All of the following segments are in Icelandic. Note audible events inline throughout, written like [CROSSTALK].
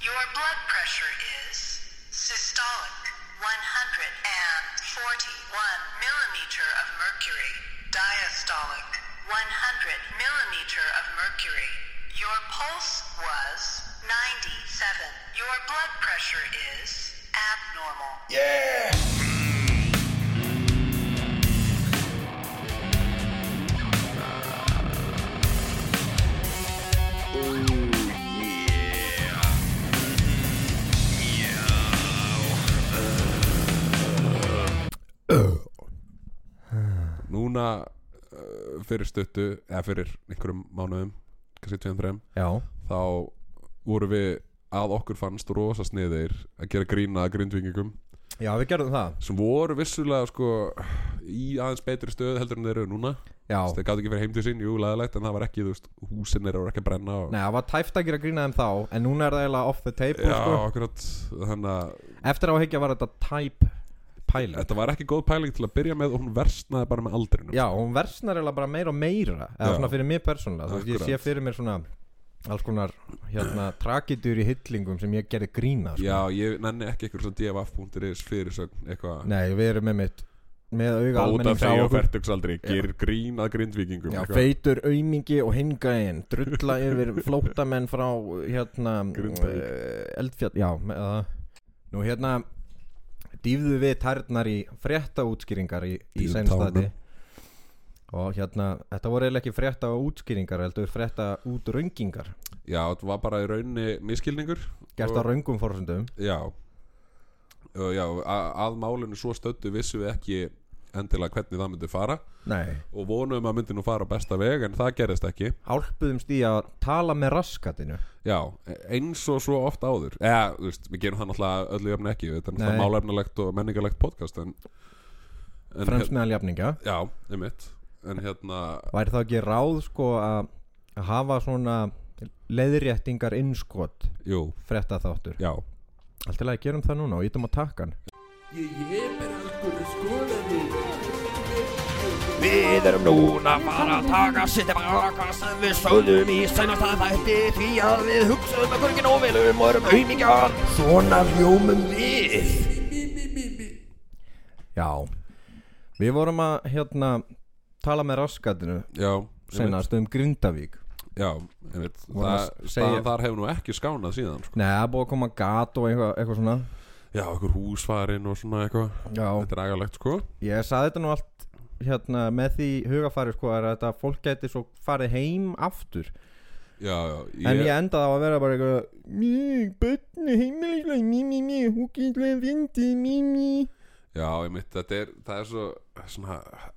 blood pressure is systolic 141 millimeter of mercury, diastolic 100 millimeter of mercury. Your pulse was 97. Your blood pressure is abnormal. Yeah! Núna uh, fyrir stuttu eða fyrir einhverjum mánuðum kannski tveim þreim Já, þá voru við að okkur fannst rosa sniðir að gera grína að grindvingingum já við gerðum það sem voru vissulega sko í aðeins betri stöð heldur en þeir eru núna Já, Þess, þeir gátt ekki fyrir heim til sín, jú, laðilegt en það var ekki, þú veist, húsin þeirra voru ekki að brenna og... nei, það var tæft að gera grína þeim þá En núna er það eiginlega off the table Já, sko. akkurat, þannig að Eftir á að higgja var þetta type pilot þetta var ekki góð pæling til að byrja með og hún versnaði bara með aldrinum Já, og hún versnar eiginlega bara meira og meira Já. Eða svona fyrir mig persónulega Þú veist, Ég sé Akkurat. fyrir mér svona alls konar hérna, tragidur í hillingum sem ég gerði grína sko. Já, ég nenni ekki eitthvað svona df.is fyrir svona eitthvað Nei, við erum með mitt með auga Bóta almenning frá þegar okkur færtugsaldri, gerir grín að grindvíkingum Já, eitthvað. feitur, aumingi og hingaðin [LAUGHS] drulla yfir flótamenn frá hérna Grindavík. eh, eldfjall, já með það. nú hérna dýfðu við tærnar í frétta útskýringar í, í Dýfðu senstæti tánum. og hérna, þetta voru eiginlega ekki frétta útskýringar, heldur frétta útröngingar Já, þetta var bara í raunni miskilningur gert á Og- röngum fórsundum Já Ö, Já, a- að málinu svo stöndu vissu við ekki endilega hvernig það myndi fara nei, og vonuðum að myndi nú fara á besta veg en það gerist ekki álpuðumst í að tala með raskatinu Já, e, eins og svo oft áður eða, þú veist, við gerum það náttúrulega öllu jöfn ekki þetta er náttúrulega Nei. málefnilegt og menningarlegt podcast en, en fremst meðal jafninga hér, Já, einmitt en hérna, væri þá ekki ráð sko að að hafa svona leiðréttingar innskot jú, frétta þáttur já Allt í lagi, gerum það núna og ítum á takkan Við erum núna bara að taka sér tilbaka sem við sögðum í sænast að þætti því að við hugsaðum okkur ekki nóvelum og erum aumingjar Svona hljómum við Já Við vorum að hérna tala með raskatinu Já, einmitt, senast um Grindavík Já, einmitt Vorum að það, segja- staðan þar hefur nú ekki skánað síðan sko. Nei, það er búið að koma gat og eitthvað, eitthvað svona Já, okkur húsfarin og svona eitthvað Já, Þetta er agalegt, sko ég saði þetta nú allt hérna með því hugafæri sko er að þetta fólk gæti svo farið heim aftur Já, já, En ég endaði á að vera bara eitthvað Mjög, bönnu, heimilislega, mjög, mjög, mjög, húkislega, vindi, mjög, mjög Já, ég mitt, þetta er, það er svo svona,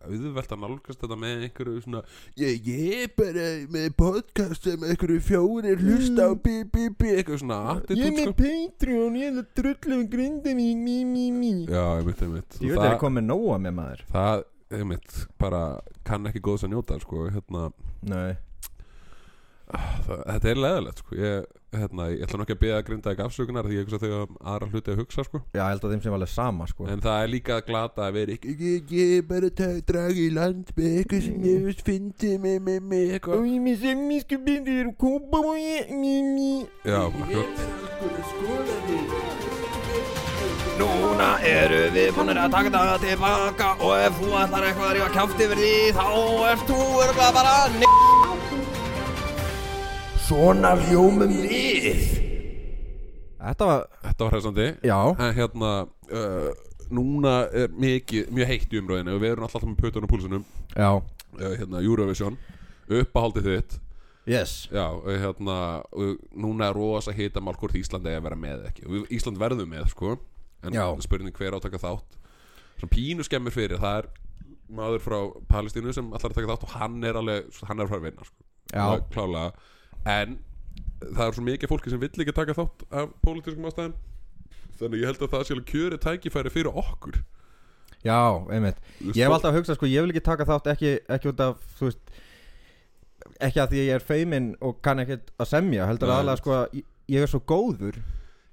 auðvelt að nálgast þetta með einhverju svona, ég, ég er bara með podcast sem einhverju fjórir hlusta á bí, bí, bí, eitthvað svona Mm. Ég er attitút, með sko. Patreon, ég er að drullu um Grindavík, mjög, mjög, mjög Já, ég mitt, ég mitt. Ég veit að það er komið nóa með maður Það, ég mitt, bara kann ekki góðs að njóta, sko, hérna, Nei það, þetta er leðilegt, sko, ég, hérna, ég ætla nú ekki að beða að grinda ekki afsökunar því ég hugsa þau um aðra hluti að hugsa, sko, Já, ég held að þeim sem var alveg sama sko en það er líka að glata að vera ekki, Mm. Ég, ég er bara að draga í land með eitthvað sem ég veist fyndi með, með, með eitthvað ég með sem mér sko byrðið er kópa og ég Mí, mí já, akkurat, Núna eru við búinir að taka það tilbaka og ef þú ætlar eitthvað að rífa kjáft yfir því þá ert þú örgulega bara n***. Svona hljómum við Þetta var, þetta var hressandi, já en hérna uh, núna er mikið, mjög heitt í umröðinu og við erum alltaf alltaf með pötun og púlsunum Já uh, hérna Eurovision uppahaldið þitt Yes já, uh, hérna, uh, núna er rosa hitamál hvort Ísland eigi að vera með eða ekki og við, Ísland verður með sko en Já. spurning hver á að taka þátt sem pínu skemmir fyrir, það er maður frá Palestínu sem allar að taka þátt og hann er alveg, hann er frá að vinna sko. Já. Það er klálega en það er svo mikið fólki sem vill ekki taka þátt af pólitískum ástæðum þannig ég held að það sé alveg kjöri tækifæri fyrir okkur Já, einmitt Ég hef alltaf að hugsa sko, ég vil ekki taka þátt ekki, ekki út af, þú veist Ekki að því ég er feiminn og kann ekkert að semja Heldur Nei. aðalega sko að ég- ég er svo góður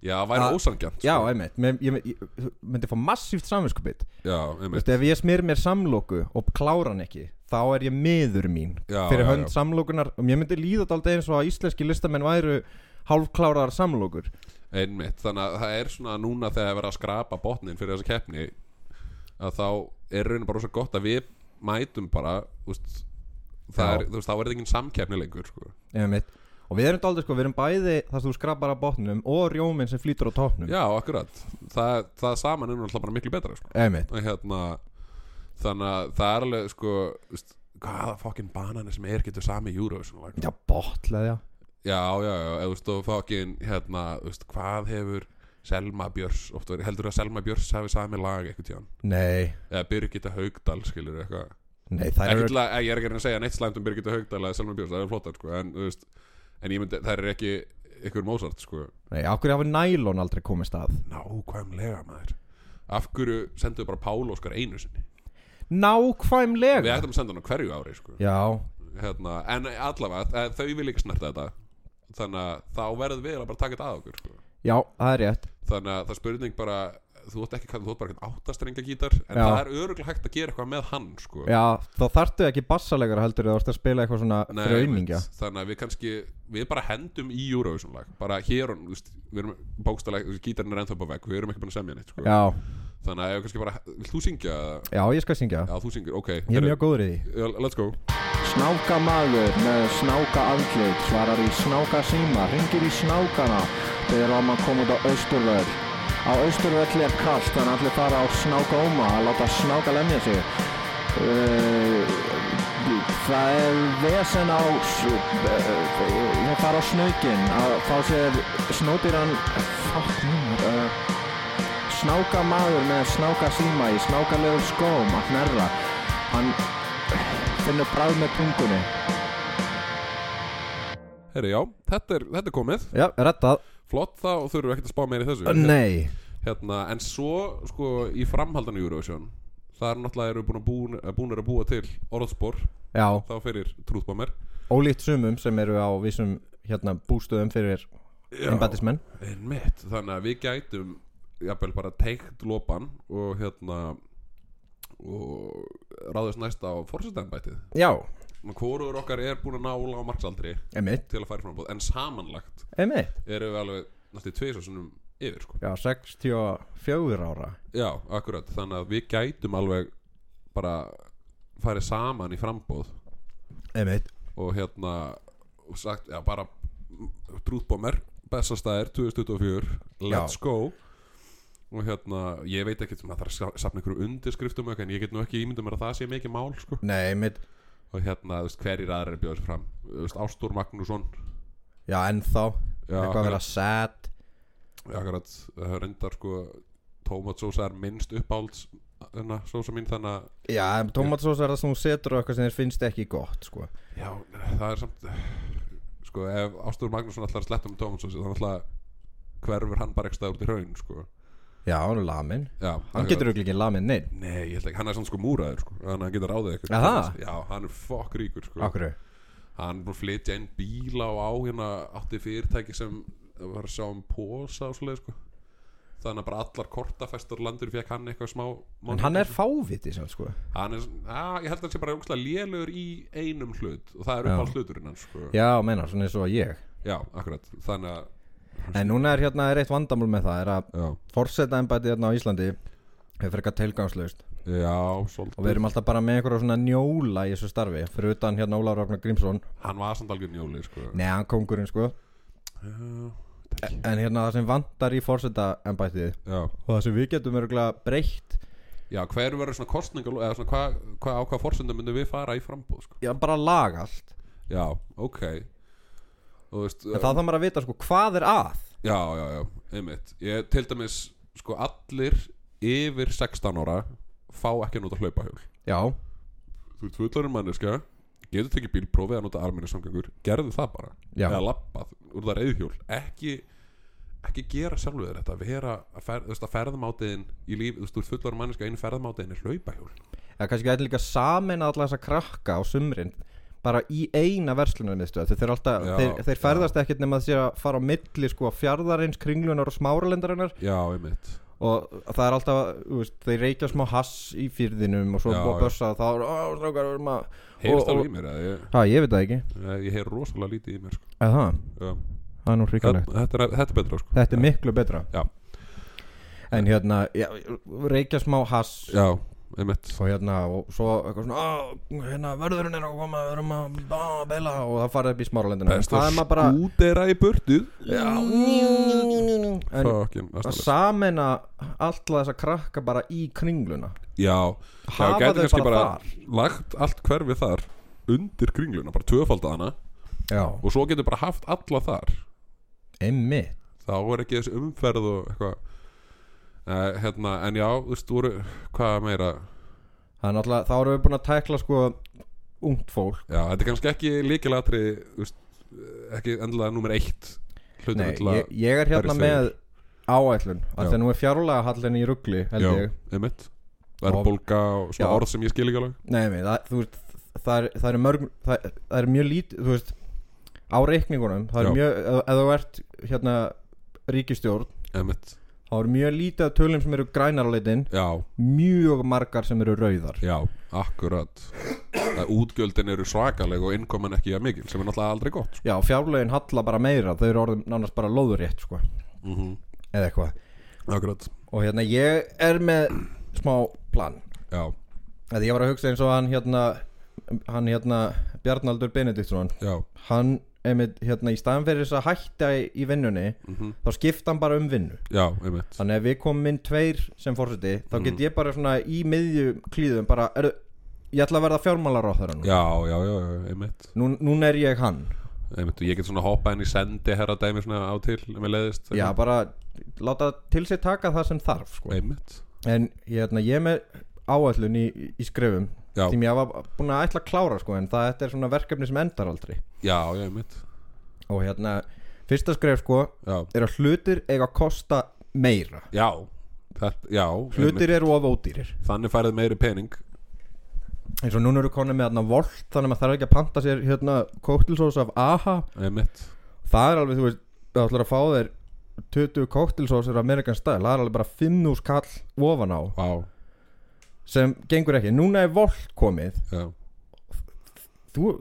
já, væri sko. Að- ósangjant Já, einmitt Mér- Ég, ég, ég myndi fá massíft samvinskupið já, Þú einmitt veist, ef ég smyr mér samlóku og klára hann ekki þá er ég miður mín Já, fyrir já, hönd já. samlókunar og mér myndi líða þetta aldrei eins og að íslenski listamenn væru hálfklárar samlókur einmitt, þannig að það er svona núna þegar það er verið að skrapa botnin fyrir þessa keppni að þá er raunin bara svo gott að við mætum bara úst, það Já. er, þú veist, þá er þetta engin samkeppni lengur sko. einmitt og við erum dálítið sko, við erum bæði þar sem þú skrapar á botnum og rjóminn sem flýtur á topnum já, akkurat, það, það saman er náttúrulega bara miklu betra sko. einmitt, og hérna, þannig að það er alveg sko, úst, hvaða fokkin banani sem er getur sami í Eurovision like. já botlega já já, já, já, eða þú veist, og fokkin hérna, þú veist, hvað hefur Selma Björs, oft verið, heldur að Selma Björs hafi sami lag eitthvað tíðan nei, eða Birgitta Haugdal skilur eitthvað nei, það ekki eru til að, ég er ekki að reyna að segja neitt slæmt um Birgitta Haugdal eða Selma Björns, það er flottar sko en, þú veist, en ég myndi, það er ekki ykkur Mozart sko nei, af hverju hafa nælón aldrei komist að nákvæmlega maður af hverju senduðu bara Pál Óskar einu sinni við nákvæmlega ættum að senda hann á hverju ári sko já, hérna, en allavega, eh, þau vil ekki snerta þetta þannig að þá verðum við eiginlega bara að taka þetta að okkur sko. já, það er rétt þannig að það er spurning bara þú átt ekki, þú átt bara eitthvað áttastrengja gítar en Já. það er öruglega hægt að gera eitthvað með hann sko. Já, þá þarftu ekki bassalegra heldur eða þú ert að spila eitthvað svona Nei, fyrir auðmingja einmitt. þannig að við kannski við bara hendum í Eurovision lag bara hér og þú veist, við erum bókstælega gítarinn er ennþá upp á vegg, við erum ekki búin að semja neitt sko. Já, þannig að ef við kannski bara vill þú syngja, eða? já, ég skal syngja já þú syngir, ok Ég er herri, mjög góður í því já, let's go Snáka maður með snáka andlit svarar í snáka síma, ringir í snákana þegar um að koma út á Austurvöll. Á Austurvöll er kallt en allir fara á snáka óma að láta snáka lemja sig. Uh, það er vesen á, s- eh, það fara á snökin að fá sér snótiran, fuck mér, uh, snáka maður með snáka síma í snákalegum skóm að hnerra. Hann finnur bræð með tungunni. herri, já, þetta er, þetta er komið Já, rettað flott þá þurfum við ekkert að spá meira í þessu Nei hérna, en svo sko í framhaldan í Eurovision þar náttúrulega eru búin að búin, búin að búa til orðspor Já, þá fyrir trúðbámer ólíkt sumum sem eru á vissum hérna bústöðum fyrir einbættismenn Einmitt, þannig að við gætum jafnvel bara teikt lopan og hérna og ráðast næst á fórsetanbætið. Já, Hvorur okkar er búin að nála á marksaldri einmitt, til að færa framboð, en samanlagt einmitt erum við alveg næstu tveis og sinnum yfir sko. Já, 64 ára Já, akkurat, þannig að við gætum alveg bara farið saman í framboð Einmitt og hérna og sagt, já bara trúðbómer, bestastæðir 2024 let's Já. go og hérna, ég veit ekki maður þarf að safna ykkur undirskriftum og eitthvað, en ég get nú ekki ímyndum mér að það sé mikið mál sko. Nei, einmitt og hérna, þú veist, hverjir aðra er bjóðis fram Þú veist, Ástór Magnússon Já, ennþá Já, Eitthvað að vera sad akkurat, það er reyndar sko tómatsósa er minnst uppáhalds hérna, sósa mín, þannig að Já, tomatsós er það sem þú setur á eitthvað sem þér finnst ekki gott, sko já, það er samt sko, ef Ástór Magnússon ætlar að sletta um tómatsósi, þannig að hverfur hann bara ekki stað út í raun sko. Já, hann er lamin já, Hann akkurat. getur örugglega ekki lamin neinn Nei, ég held ekki, hann er svona sko múraður sko. Þannig að hann getur ráðið ykkur Er það? Já, hann er fokk ríkur sko. Akkur Hann er búin að flytja inn bíla og á hérna átti fyrirtæki sem var að sjá um posa og svoleið sko. Þannig að bara allar kortafestur landur fekk hann eitthvað smá En hann er fáviti sem sko Hann er, að, ég held að hann sé bara ógstlega lélugur í einum hlut og það er Já. uppáhalds hluturinn hans sko. Já, menar, svona eins og ég Já, akkurat Þannig að, En núna er hérna er eitt vandamál með það er að já, forseta embætið hérna á Íslandi hefur frekar tilgangslaust já, svolítið og við erum alltaf bara með einhverja svona njóla í þessu starfi fyrir utan hérna Ólar Ragnar Grímsson Hann var samt algjör njóli sko. neðan kongurinn sko en hérna það sem vandar í forseta embætið Já, og það sem við getum örgulega breytt já hver verður svona kostningal eða svona hvað hva, á hvað forsendum myndum við fara í frambúð sko? já, bara laga allt Já, ok Þú veist, eh, en það þarf maður að vita sko hvað er að Já, já, já, einmitt Ég til dæmis, sko, allir yfir 16 ára fá ekki að nota hlaupahjól já, Þú ert fullarinn manneska getur tekið bílprófið að nota almenni samgangur gerðu það bara, Já. eða labbað úr það reyðhjól, ekki ekki gera sjálfur þér þetta, vera að, fer, þú veist, að ferðamátiðin í líf, þú veist, þú ert fullarinn manneska einu ferðamátiðin er hlaupahjól eða kannski gæti líka samin alla þessa krakka á sumrin bara í eina verslunarmiðstöð þeir, þeir, alltaf, Já, þeir, þeir ferðast ekkert nema að sé að fara á milli sko fjarðarins, kringlunar og smáralendarinnar Já, einmitt og það er alltaf, þú veist, þeir reykja smá hass í fyrðinum og svo Já, búa já. börsa og þá er, ó, strákar, við erum að Heyrst og- alveg og- í mér, eða ég, Ha, ég veit það ekki ég heyr rosalega lítið í mér, sko Eða það? Já, það er nú hrikalegt Þetta þetta er, þetta er betra sko. Þetta er miklu betra Já. En hérna, já, reykja smá hass Já, einmitt Og hérna, og svo eitthvað svona "Á, Hérna, vörðurinn er að koma, við erum að bá, beila Og það farið upp í smáralendina Best Það að er maður bara skútera í burtu Já, njú, njú, njú, njú. En Fucking að asnalegt. samena alltaf þessa krakka bara í kringluna Já, já, Hafa gæti þau kannski bara bara þar? lagt allt hverfið þar undir kringluna, bara tvöfaldið hana Já, og svo getur bara haft alla þar emmi þá er ekki þessi umferð og eitthvað uh, hérna, en já, þú veist, voru hvað meira, Það er náttúrulega, þá erum við búin að tækla sko ungt fólk já, þetta er kannski ekki líkilatri, þú veist eh, ekki endilega nummer eitt hlutur Nei, til að- ég, ég er hérna berjast með áætlun Já. að það nú er fjárlega hallin í ruggli held já, ég einmitt verðbólga og svona Já. orð sem ég skil ekki alveg Nei, nei það, þú veist, það er, það er mörg það, það er mjög lítið, þú veist á reikningunum, það Já. er mjög ef ef þú ert hérna ríkistjórn einmitt, þá er mjög lítið af tölum sem eru grænar á leitin já, mjög margar sem eru rauðar já, akkurat að útgjöldin eru svakaleg og innkoman ekki að mikil, sem er náttúrulega aldrei gott sko. Já, fjárlegin halla bara meira þau eru orðin nánast bara loðurétt sko mm eða eitthvað akkurat, og hérna ég er með smá plan já, Þegar ég var að hugsa eins og hann hérna hann hérna Bjarnaldur Benediktsson já hann einmitt hérna í staðan fyrir þess að hætta í, í vinnunni Mhm. þá skipta hann bara um vinnu já, einmitt, þannig að við komum inn tveir sem fórseti þá get Mhm. ég bara svona í miðju klíðum bara er, ég ætla að verða fjármálar á þeirra nú. já, já, já, já, einmitt nú núna er ég hann einmitt, og ég get svona hoppað inn í sendi herra dæmi svona á til, ef ég leiðist já bara láta til sér taka það sem þarf sko. einmitt, en hérna ég er með áætlun í, í skrefum Já. því mér var búin að ætla að klára sko, en það þetta er svona verkefni sem endar aldrei já, já, einmitt og hérna fyrsta skref sko já, er að hlutir eiga að kosta meira já, þetta, já einmitt. hlutir eru of ódýrir þannig færið meiri pening eins og núna eru konum með hérna volt þannig að maður þarf ekki að panta sér hérna kóktilsós af AHA einmitt, það er alveg þú veist það ætlar að fá þér 20 kóktilsósir af Amerikan stæl það er alveg bara 5.000 kall ofan á vá, sem gengur ekki núna er volt komið já þú,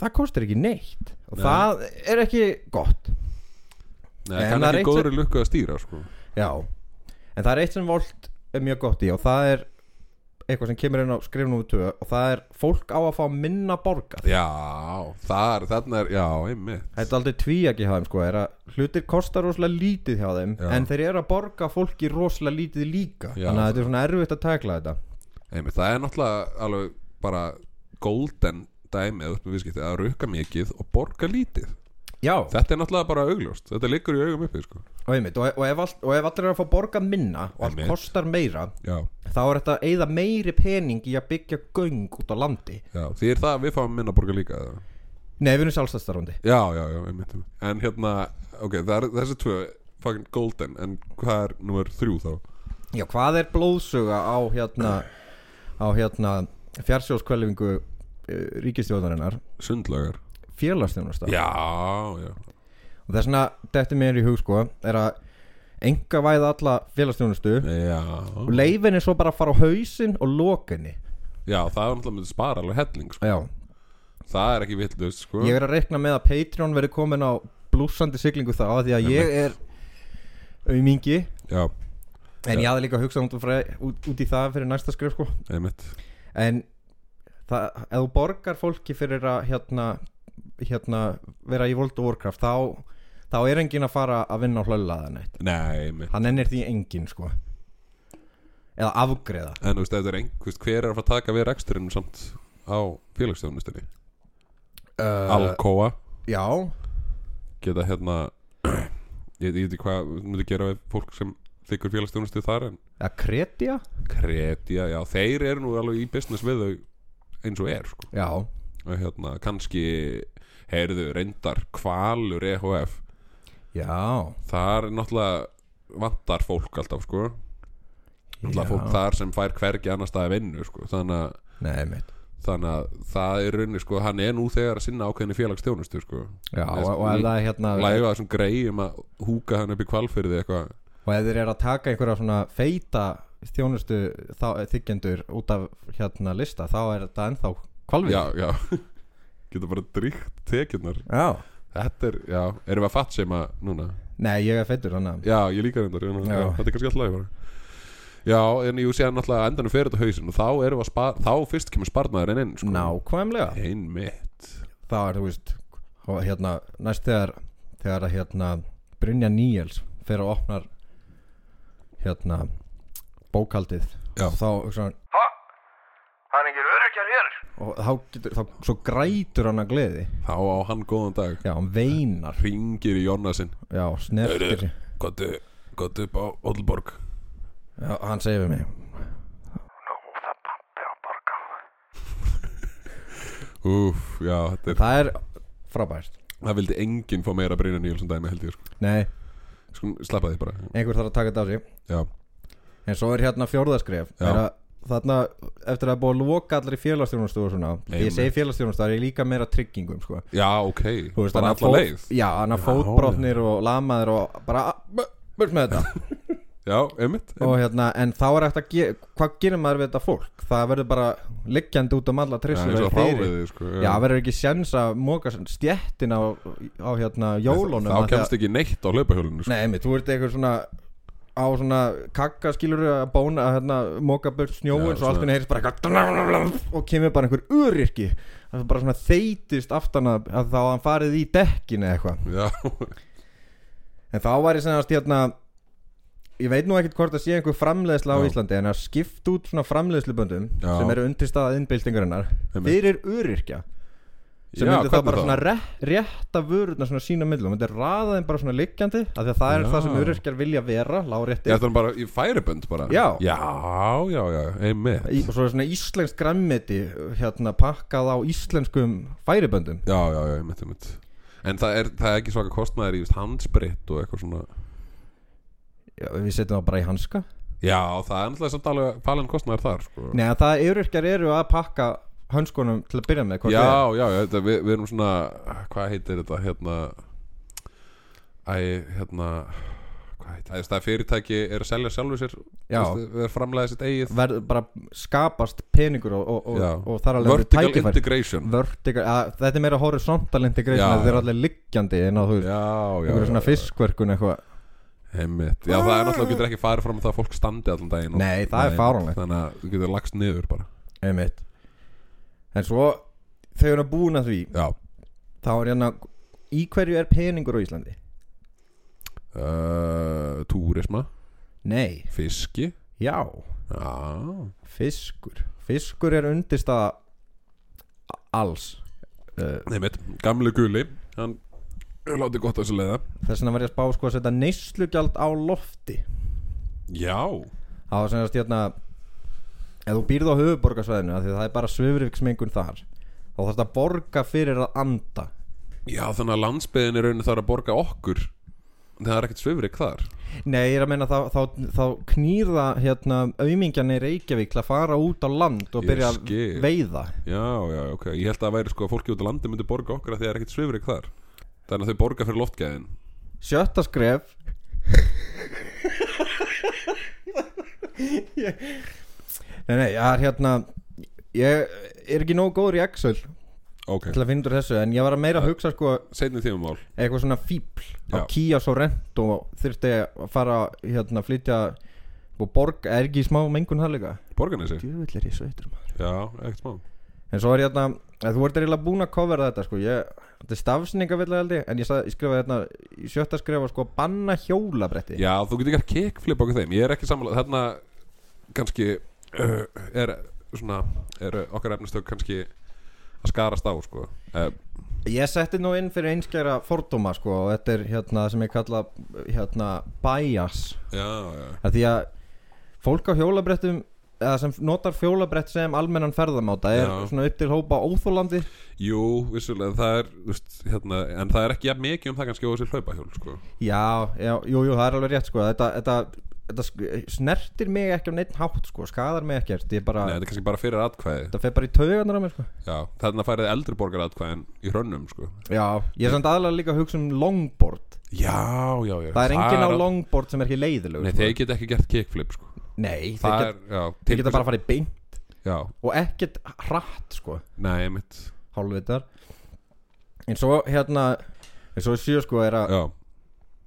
það kostar ekki neitt og Nei. það er ekki gott Nei, En það er það er ekki eitt góðri lukku að stýra sko. já, en það er eitt sem Volt er mjög gott í og það er eitthvað sem kemur inn á skrifnum við tvö og það er fólk á að fá minna borgað Já, þar, þarna er, já, einmitt þetta er aldrei tví ekki hjá þeim sko er að hlutir kostar rosalega lítið hjá þeim Já. en þeir eru að borga fólki rosalega lítið líka Já. þannig að þetta er svona erfitt að tækla þetta Einmitt, það er náttúrulega alveg bara golden dæmið upp með viðskipti að rukka mikið og borga lítið já, Þetta er náttúrulega bara augljóst, þetta liggur í augum uppi sko. og, einmitt, og, og, ef allt, og ef allir eru að fá borgað minna og allt Einmitt. kostar meira Já, þá er þetta að eyða meiri pening í að byggja göng út á landi já, því er það að við fáum minna að borga líka eða? Nei, við erum sjálfstæðstarfandi Já, já, já, einmitt einmitt. En hérna, ok, það er, þessi tvö fucking golden, en hvað er númer þrjú þá? Já, hvað er blóðsuga á hérna á hérna fjarsjóðskvelvingu uh, ríkistjóðarinnar Sundlögar félagstjónasta Já, já, og þess vegna dettur mér í hug sko er að enga væða alla félagstjónustu og já leifin er svo bara að fara á hausinn og lokinni Já, það er náttúrulega myndi spara alveg helling sko. Já, Það er ekki villust, sko ég er að reikna með að Patreon verði komin á blúsandi siglingu þá af því að ég er aumingi Já, en ég hafði líka hugsað út, og fre- út, út í það fyrir næsta skrif sko einmitt en það, ef þú borgar fólki fyrir að hérna, hérna vera í World of Warcraft þá, þá er enginn að fara að vinna á hlöllaða neitt Nei, einmitt hann ennir því enginn sko eða afgreða En þú veist, ef þetta er einhvers, hver er að fara að taka við reksturinn samt á félagsstjónustinni? Uh, Alcoa já, geta hérna [CLEARS THROAT] ég ég veit ekki hvað myndi gera við fólk sem þykir félagsstjónustu þar en eða kretja kretja, já, þeir eru nú alveg í business við þau eins og er sko. já, og hérna, kannski heyrðu, reyndar, kvalur EHF, já, þar er náttúrulega vantar fólk alltaf, sko náttúrulega Já. fólk þar sem fær hvergi annars staði vinnu, sko, þannig að nei mitt þannig að það er rauninni sko, hann er nú þegar að sinna ákveðinni félagsstjónustu sko. já, og, og ef það er hérna læfa þessum greiðum að húka hann upp í kvalfyrði eitthvað og ef þeir eru að taka einhverja svona feita þjónustu þá, þykjendur út af hérna [LAUGHS] lista þá er þetta ennþá kvalvið já, já, geta bara dríkt tekjurnar já, Þetta er, já, erum við að fatt sem að núna Nei, ég er feitur hann að Já, ég líka reyndar já, Já. já, Þetta er kannski alltaf lægi bara Já, en jú sé hann alltaf endanum fyrir þetta hausin og þá erum við að spara, þá fyrst kemur sparnaðurinn inn sko. Nákvæmlega Einmitt Það er, þú veist og hérna, Næst þegar Þegar að hérna Brynja Níels Fer og opnar Hérna Bókaldið Já. Þá, svona, Ha? Það er engin öryrkjar hér og þá getur þá, Svo grætur hann að gleði Þá á hann góðan dag Já, hann veinar Ringir í Jónasinn Já, snertir Gottu, gottu upp á Odlborg Já, hann segir við mig Nú, það er pappi að borga Úf, já, þetta er Það er frábært Það vildi enginn fá meira Brynja Níelsson dæmi held ég sko. Nei, sko Slappa því bara einhver þarf að taka þetta á sig Já, En svo er hérna fjórðaskref Já. er að, Þarna, eftir að búa að loka allir í félagstjónustu og svona Nei, Ég segi félagstjónustu, það er ég líka meira tryggingum sko. já ok Þú veist, Bara hann alla fót- leið Já, hann að Já, fótbrotnir og lamaðir og bara b- burt með [LAUGHS] þetta Já, einmitt og hérna, en þá er eftir að ge hvað gerir maður við þetta fólk? Það verður bara liggjandi út um alla Já, trissur eins og og fyrir. hráviði, sko, já. Já, það verður ekki séns að móka stjettin á, á hérna jólunum Þá kemst ekki neitt á hlaupahjólinu sko. Nei, emi, þú ert eitthvað svona á svona kakka skilur að bóna að hérna moka börn snjóin Já, svo allt henni heyrist bara eitthvað og kemur bara einhver öryrki það er bara svona þeytist aftan að, að þá hann farið í dekkin eða eitthvað Já, en þá var ég sem að hérna ég veit nú ekkert hvort að sé einhver framleiðsla á Já. Íslandi en að skipta út svona framleiðsluböndum Já. sem eru undirstaðað innbyltingarinnar Einmitt. fyrir öryrkja sem Já, myndi þá hvernig bara þá? svona rétt, rétta vörurna svona sína millum, myndi raða þeim bara svona liggjandi af því að það er Já. það sem öryrkjar vilja vera lárétti þetta er bara í færibönd bara Já. Já, já, já, einmitt Í- og svo er svona íslensk græmmiti hérna pakkað á íslenskum færiböndum Já, já, já, einmitt, einmitt En það er, það er ekki svaka kostnaðir í just handsprit og eitthvað svona Já, við setjum það bara í hanska Já, það er náttúrulega samt alveg falin kostnaðir þar sko. Nei, að það öryrkjar eru að pakka hönskunum til að byrja með hvort Já, eð er. já, já, þetta, við, við erum svona Hvað heitir þetta, hérna Æ, hérna Hvað heitir þetta, það fyrirtæki er að selja sjálfu sér Já. Það er framlega sitt eigið verður bara skapast peningur og, og, Já. og, og þar alveg Vertical integration Vertical, að, þetta er meira horizontal integration Já. þetta er allir liggjandi en að þú veist Já, já, einhverju já, svona fiskverkun eitthvað Einmitt. Já, það er náttúrulega, þú getur ekki farið fram að það að fólk standi allan daginn og- Nei, það er Nei, fáránlegt. Þannig að þú getur lagst niður bara einmitt en svo þau eru búin að því Já þá er hérna í hverju er peningur á Íslandi? uh, Túrisma, Nei, fiski já Já, Fiskur Fiskur er undirstaða alls Uh, einmitt, gamli guli Hann láti gott að þessu leiða Þess vegna var ég að spá sko að setja neyslugjald á lofti Já, Það var sem að hérna Ef þú býrð á höfuborgarsvæðinu af Því að það er bara svifriksmengun þar Þá þarfst að borga fyrir að anda já þannig að landsbyðin er raunin þar að borga okkur en Það er ekkert svifrik þar Nei, ég er að meina þá, þá, þá knýrða hérna, Aumingjarni í Reykjavík til að fara út á land Og Ég byrja að skil. veiða Já, já, ok, ég held að það væri sko að fólki út á landi myndi borga okkur að því það er ekkert svifrik þar Þannig að þau borga fyrir loftgæðin Sjötta skref Nei, nei, það er hérna Ég er ekki nógu góður í Excel til Ok, að finna úr þessu En ég var að meira að hugsa sko seinni tímumál eitthvað svona fíbl Já. á Kia Sorento þurfti að fara hérna að flytja og borg er ekki í smá mengun það líka Borganesi, Djöfull er ég sveitur maður já, ekkert smá En svo er hérna að þú ert eiginlega búin að covera þetta sko ég, Þetta er stafsningavillega held ég En ég, sað, ég skrifaði hérna í sjötta skrifa sko banna hjólabretti Já, þú getur gert kickflip okkur þeim Ég er ekki sammála, þarna kannski uh, er svona, er okkar efnistök kannski að skarast á, sko uh, Ég setti nú inn fyrir einskjæra fordóma sko og þetta er hérna sem ég kalla hérna bias Já, já, að því að fólk á hjólabrettum eða sem notar fjólabrett sem almennan ferðamáta er Já. svona upp til hópa óþólandi jú, vissulega það er, þú veist, hérna, en það er ekki jafn mikið um það kannski og þessi hlaupahjól, sko Já, já, jú, jú, það er alveg rétt sko þetta, þetta, þetta sk- snertir mig ekki á neitt hátt sko, skadar mig ekkert ég bara, Nei, þetta er kannski bara fyrir atkvæði þetta fer bara í taugarnar á mér sko Já, þarna færið eldri borgar atkvæðin í hrönnum, sko Já, ég er samt aðlega líka að hugsa um longboard Já, já, já Það er enginn á al- longboard sem er ekki leiðilegur Nei, sko. þeir get ekki gert kickflip, sko Nei, þeir, Það get, er, já, þeir geta bara að fara í beint Já, og ekkert hratt sko nei, mitt hálfvitar en svo hérna En svo sjö sko er að já,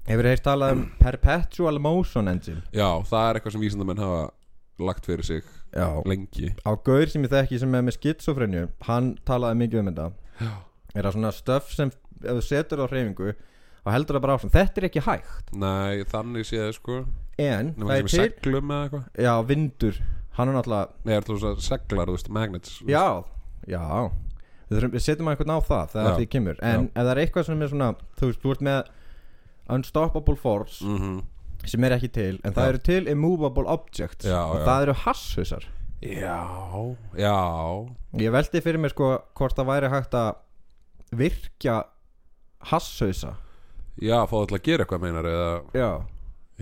Hefur þeir talað um perpetual motion engine já, það er eitthvað sem vísindamenn hafa lagt fyrir sig Já. lengi Á gaur sem ég þekki sem er með skitsofrenju Hann talaði mikið um þetta Já Er að svona stöf sem Ef þú setur það á hreyfingu Og heldur það bara áfram Þetta er ekki hægt Nei, þannig séð sko En Nefnum sem er það er til seglum eða eitthvað Já, vindur Hann er náttúrulega Nei, er þú svo seglar, þú veist, magnets Já, já Við, þurfum, við setjum að einhvern á það þegar Já. því kemur En ef það er eitthvað sem er svona Þú veist, þú ert með Unstoppable Force Mhm. Sem er ekki til En það Já. eru til Immovable Objects Já, Og já. það eru hasshausar já, já. Ég veldi fyrir mér sko Hvort það væri hægt að Virkja hasshausa Já, fá það til að gera eitthvað meinar eða, Já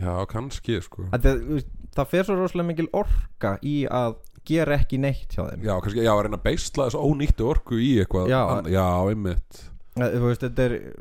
Já, kannski sko það, þú veist, það fer svo rosalega mikil orka Í að gera ekki neitt hjá þeim Já, kannski, já, að reyna að beisla þessu ónýttu orku í eitthvað Já. ann- já einmitt Þú veist, þetta er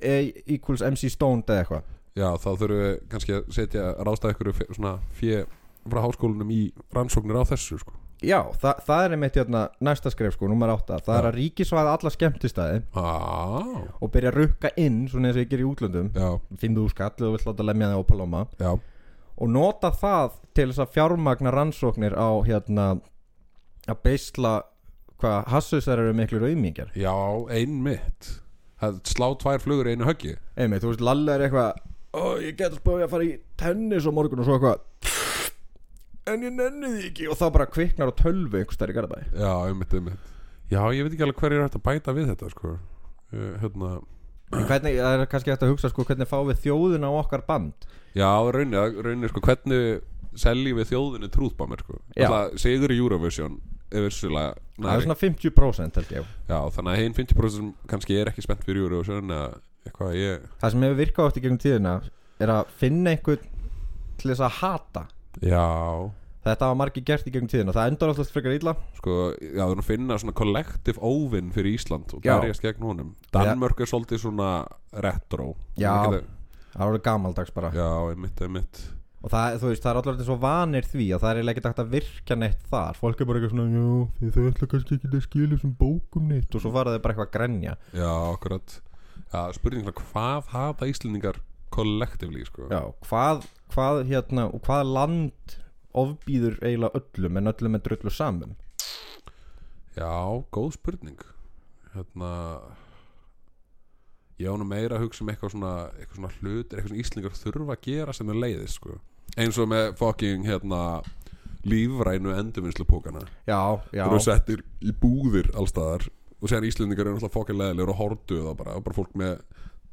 E equals MC Stone eða eitthvað Já, þá þurfum við kannski að setja ráðstæða ykkur fe- svona fjö frá háskólanum í rannsóknir á þessu sko Já, þa það er einmitt hérna, næsta skref sko, nummer 8 Það er Já. að ríkisvæða alla skemmtistæði Á, og byrja að rukka inn, svona eins og ég ger í útlöndum já, Fyndu úr skall og vill láta lemja þig á Paloma já, Og nota það til þess að fjármagna rannsóknir á hérna að beisla hvað hassusar eru miklu raumingjar já, einmitt Það slá tvær flugur í einu höggi Einmitt, þú veist, Lalla er eitthvað Ó, ég get að spáði að fara í tennis á morgun og svo eitthvað En ég nenni því ekki Og þá bara kviknar á tölvu einhvers þær í garabæði Já, einmitt, einmitt Já, ég veit ekki alveg hverju er hægt að bæta við þetta sko Eh, Hérna, En hvernig, það er kannski hægt að hugsa sko hvernig fáum við þjóðuna á okkar band já, raunir, raunir sko hvernig seljum við þjóðinu trúðbámir sko Já. Alltaf sigur í Eurovision er vissulega Það er næring. svona 50% held ég Já, þannig að hinn 50% sem kannski er ekki spennt fyrir Eurovision eða eitthvað ég Það sem hefur virkað átt í gegnum tíðina er að finna einhvern til þess að hata Já, Þetta hafa margir gert í gegnum tíðina Það endar alltaf frekar illa sko, já, þú erum að finna svona kollektiv óvinn fyrir Ísland og Já. berjast gegn honum Danmörk er svolítið svona retro Já. Ég geta- Það er orðið gamaldags bara Já, einmitt, einmitt Og það, þú veist, það er allir orðið svo vanir því að það er eiginlega ekkert hægt að virka neitt þar Fólk er bara eitthvað svona, já, því þau ætla kannski ekki að skilja þessum bókum neitt Og svo fara þau bara eitthvað að grenja Já, akkurat Já, spurning svona, hvað hata Íslendingar kollektivli, sko Já, hvað, hvað, hérna, og hvað land ofbýður eiginlega öllum en öllum er drullu saman Já, góð spurning Hérna Ég ánum meira að hugsa um eitthvað svona eitthvað svona hlutir, eitthvað svona íslingar þurfa að gera sem er leiðis, sko eins og með fucking, hérna lífrænu endurvinnslupókana Já, já og settir í búðir allstaðar og séðan Íslendingar eru náttúrulega fucking leiðilegur og hortu það bara, bara fólk með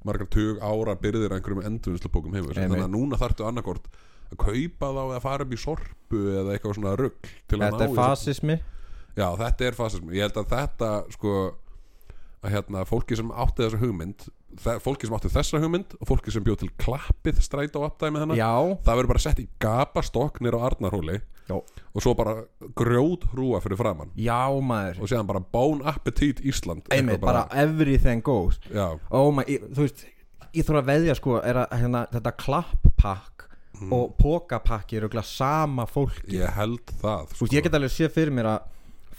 margar tug ára byrðir af einhverjum endurvinnslupókum heimur Einmitt. þannig að núna þarftu annarkort að kaupa þá eða fara upp í sorpu eða eitthvað svona rugl til að ná Þetta í er þessa- fasismi Já, þetta er fasismi Ég held að þetta, sko að hérna, fólki sem átti þessa hugmynd þe- fólki sem átti þessa hugmynd og fólki sem bjóð til klappið stræta og apdæmi hennar Já, það verður bara sett í gapastokk nýr á Arnarhóli já, og svo bara grjót hrúa fyrir framann já maður og séðan bara bón appetít Ísland einmitt, Eitthvað bara everything goes Já, oh my, ég, þú veist ég þarf að veðja sko er að hérna, þetta klapppakk Mm. og pokapakk eru örugglega sama fólki ég held það þú sko. veist, ég get alveg séð fyrir mér að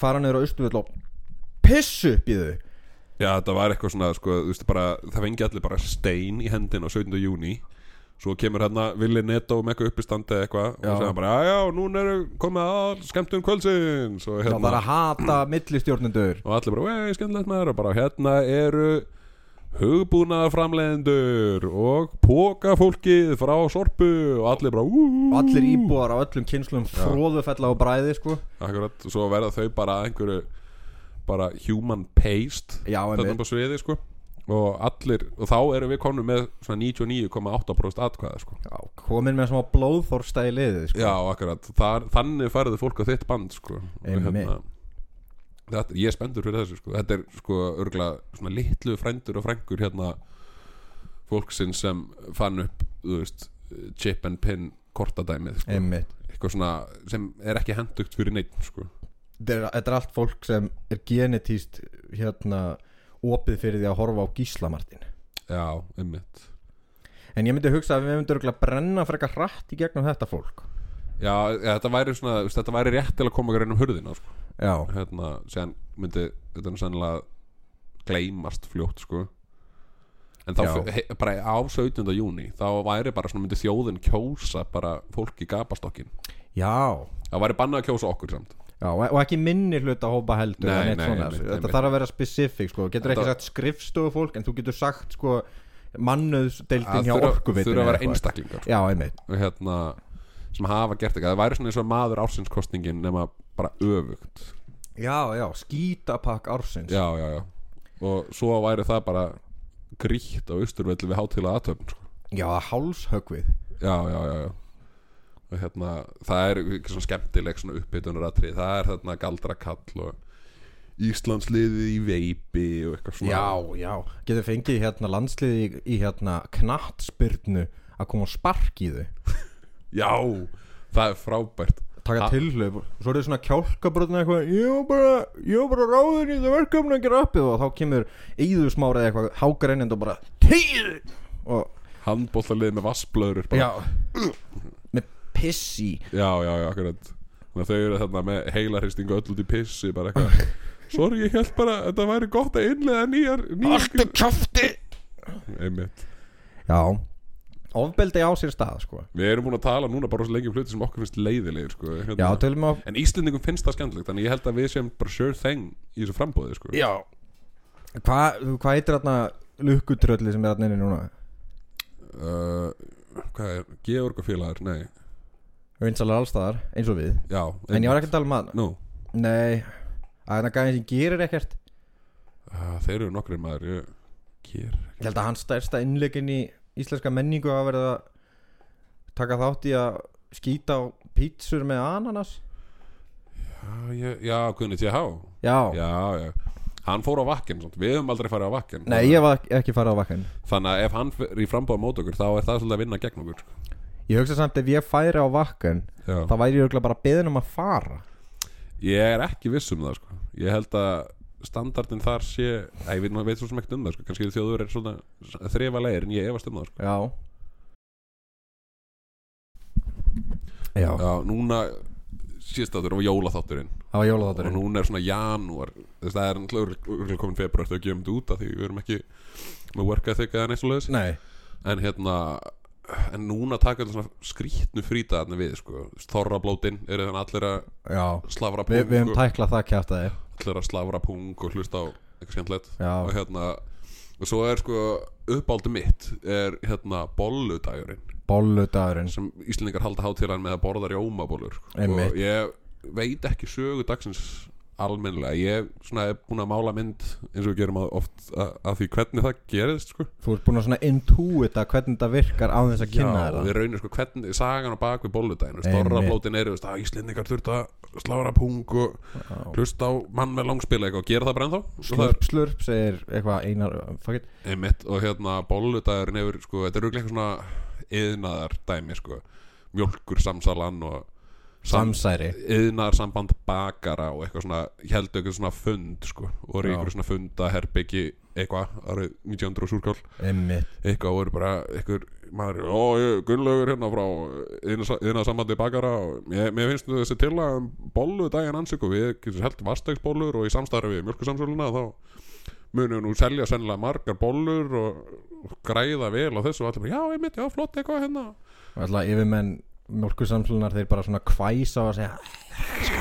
fara niður á austuðvöld og pissu upp í þau Já, þetta var eitthvað svona, sko, þú veist, bara það fengi allir bara stein í hendin á 17. júni Svo kemur hérna Vili Netto með eitthvað uppistandi eða eitthvað og Já. segja bara, já, já, núna eru komið að skemmtum kvöldsins og það var hérna, að hata millistjórnendur og allir bara, vei, skemmtilegt maður og bara, hérna eru hugbúnaðarframlegendur og pókafólkið frá sorpu og allir bara, úúú og allir íbúar á öllum kynslum fróðufella og bræði sko Akkurat, og svo verða þau bara að einhverju bara human paste Já, þarna einmitt. upp á sviði sko og allir, og þá erum við konum með svona 99,8% atkvæða sko Já, komin með smá blóðþorsta í liðið sko. Já, akkurat, Þar, þannig færðu fólk á þitt band sko Og Einmitt. þetta, ég er spenntur fyrir þessu sko þetta er sko örgla svona litlu frændur og frængur hérna fólksinn sem fann upp þú veist, chip and pin kortadæmið sko, einmitt eitthvað svona sem er ekki hendugt fyrir neitt sko þetta er, þetta er allt fólk sem er genetíst hérna opið fyrir því að horfa á gíslamartin Já, einmitt en ég myndi hugsa að við myndum örugglega brenna frekar hratt í gegnum þetta fólk Já, ja, þetta væri svona, þú veist, þetta væri rétt til að koma okkur inn um hurðina, sko. já, Hérna, séðan myndi, þetta er sennilega gleymast fljótt, sko. en þá Já. fe- he- bara á 17. júni þá væri bara svona myndi þjóðin kjósa bara fólk í gapastokkin já það væri bannað að kjósa okkur samt Já, og og ekki minni hluta hópa heldur Nei, en eitt nei, svona. einmitt, Þetta einmitt. þarf að vera spesifik sko. Getur ekki Þetta- sagt skrifstofu fólk En þú getur sagt sko, mannöðsdeildin að hjá þurfa, þurfa að orkuvitinu eða vera eitthvað. einstaklingar Já, einmitt og hérna sem hafa gert eitthvað, það væri svona eins og maður ársinskostningin nema bara öfugt Já, já, skítapakk ársins já, já, já og svo væri það bara grítt á austurvelli við hátíðlega aðtöfn sko. já hálshöggvið já, já, já, já og hérna, það er ekki svona skemmtileg svona upphitunaratri, það er þarna galdrakall og Íslandsliðið í veipi og eitthvað svona Já, já, getur fengið hérna landsliði í, í hérna knattspyrnu að koma og spark í þau Já, það er frábært taka Ha- tilhlaup svo er þið svona kjálkabröðna eitthvað ég var bara, ég var bara ráðin í það verkefni að gera appið og þá kemur íðusmárið eitthvað hágreinend og bara tíð og Handbóllalið með vassblöður já með pissi já, já, já, akkurat Þannig að þau eru þarna með heilarhistingu öll út í pissi bara eitthvað Sorry, ég held bara að þetta væri gott að innlega nýjar, nýjar Alltu kjafti Einmitt já ofbeldi á sér stað sko Við erum búin að tala núna bara svo lengi um hluti sem okkur finnst leiðilegir sko. hérna. já, tölum að En Íslendingum finnst það skemmtilegt Þannig að ég held að við séum bara sure thing í þessu frambóði sko. já hvað hva heitir þarna lukkutrölli sem er þarna inni núna uh, Hvað er, Georg og félagar, nei vinsalega allstaðar eins og við Já, en ég var ekki að tala um að Nú, nei að það gæði sem gerir ekkert uh, þeir eru nokkri maður ég... Geir Ég held að hans stærsta innlegin í íslenska menningu hafa verið að taka þátt í að skýta á pítsur með ananas Já, ég, já Guðni T.H. Já, Já, já Hann fór á vakkin, svona. við höfum aldrei farið á vakkin nei ég var ekki farið á vakkan Þannig að ef hann fer í frambóð mót okkur Þá er það svolítið að vinna gegn okkur sko. Ég hugsa samt ef ég færi á vakkan Já. þá væri ég örugglega bara beðin um að fara Ég er ekki viss um það sko. Ég held að standardin þar sé Æ, Ég veit, maður veit svo sem ekkert um það sko. Kannski þjóður er svona þrefa leir En ég efast um það sko. Já Já, Já, núna síðstáttur og jólaþátturinn það var og jólaþátturinn núna er svona janúar þess að það er náttúrulega komin februar þau gefum þetta út af því við erum ekki með work ethic eða neitt svo Nei, en hérna en núna taka þetta svona skrítnu frítaðarnir við sko. þorrablótin eru þannig allir að já slafra Vi, Við pung hefum og, tæklað það kjátt að þér allir að slafra pung og hlusta á eitthvað skemmtilegt Já. og hérna og svo er sko uppáldu mitt er hérna bolludagurinn Bolludagurinn sem Íslendingar halda hátíðan með að borða rjómabólur sko. Einmitt. og ég veit ekki sögu dagsins almennilega, ég svona er búin að mála mynd eins og við gerum að oft að, að því hvernig það gerist sko. Þú ert búin að svona intuita hvernig þetta virkar á þess að kynna Já, þér við raunir sko hvernig sagan á bak við bolludaginn sko. Einmitt. Storrablótin er, þú veist, að Íslendingar þurft að slára pung og hlusta á mann með langspila eitthvað og gera það bara ennþá Og það er Slurp, slurp, segir eitthvað einar Fuck it einmitt og hérna bolludagurinn hefur, sko, þetta er rúglega svona yðnaðar dæmi, sko mjólkur samsalan og Samsæri yðnaðarsamband bakara og eitthvað svona, heldur eitthvað svona fund, sko, og eru Já. ykkur svona funda herbyggi eitthvað, árið 1900 og súrkál Einmitt eitthvað voru bara eitthvað maður, ó, ég, Gunnlaugur hérna frá yðna sambandi bakara og ég, mér finnst þessi til að bollu daginn ansöku, við getum held vastegsbollur og í samstarfi við mjölkusamsöluna þá munum við nú selja sennilega margar bollur og, og græða vel á þessu og allir bara, já, einmitt, já, flott eitthvað hérna Og alltaf yfirmenn mjölkusamslunar þeir bara svona kvæsa og segja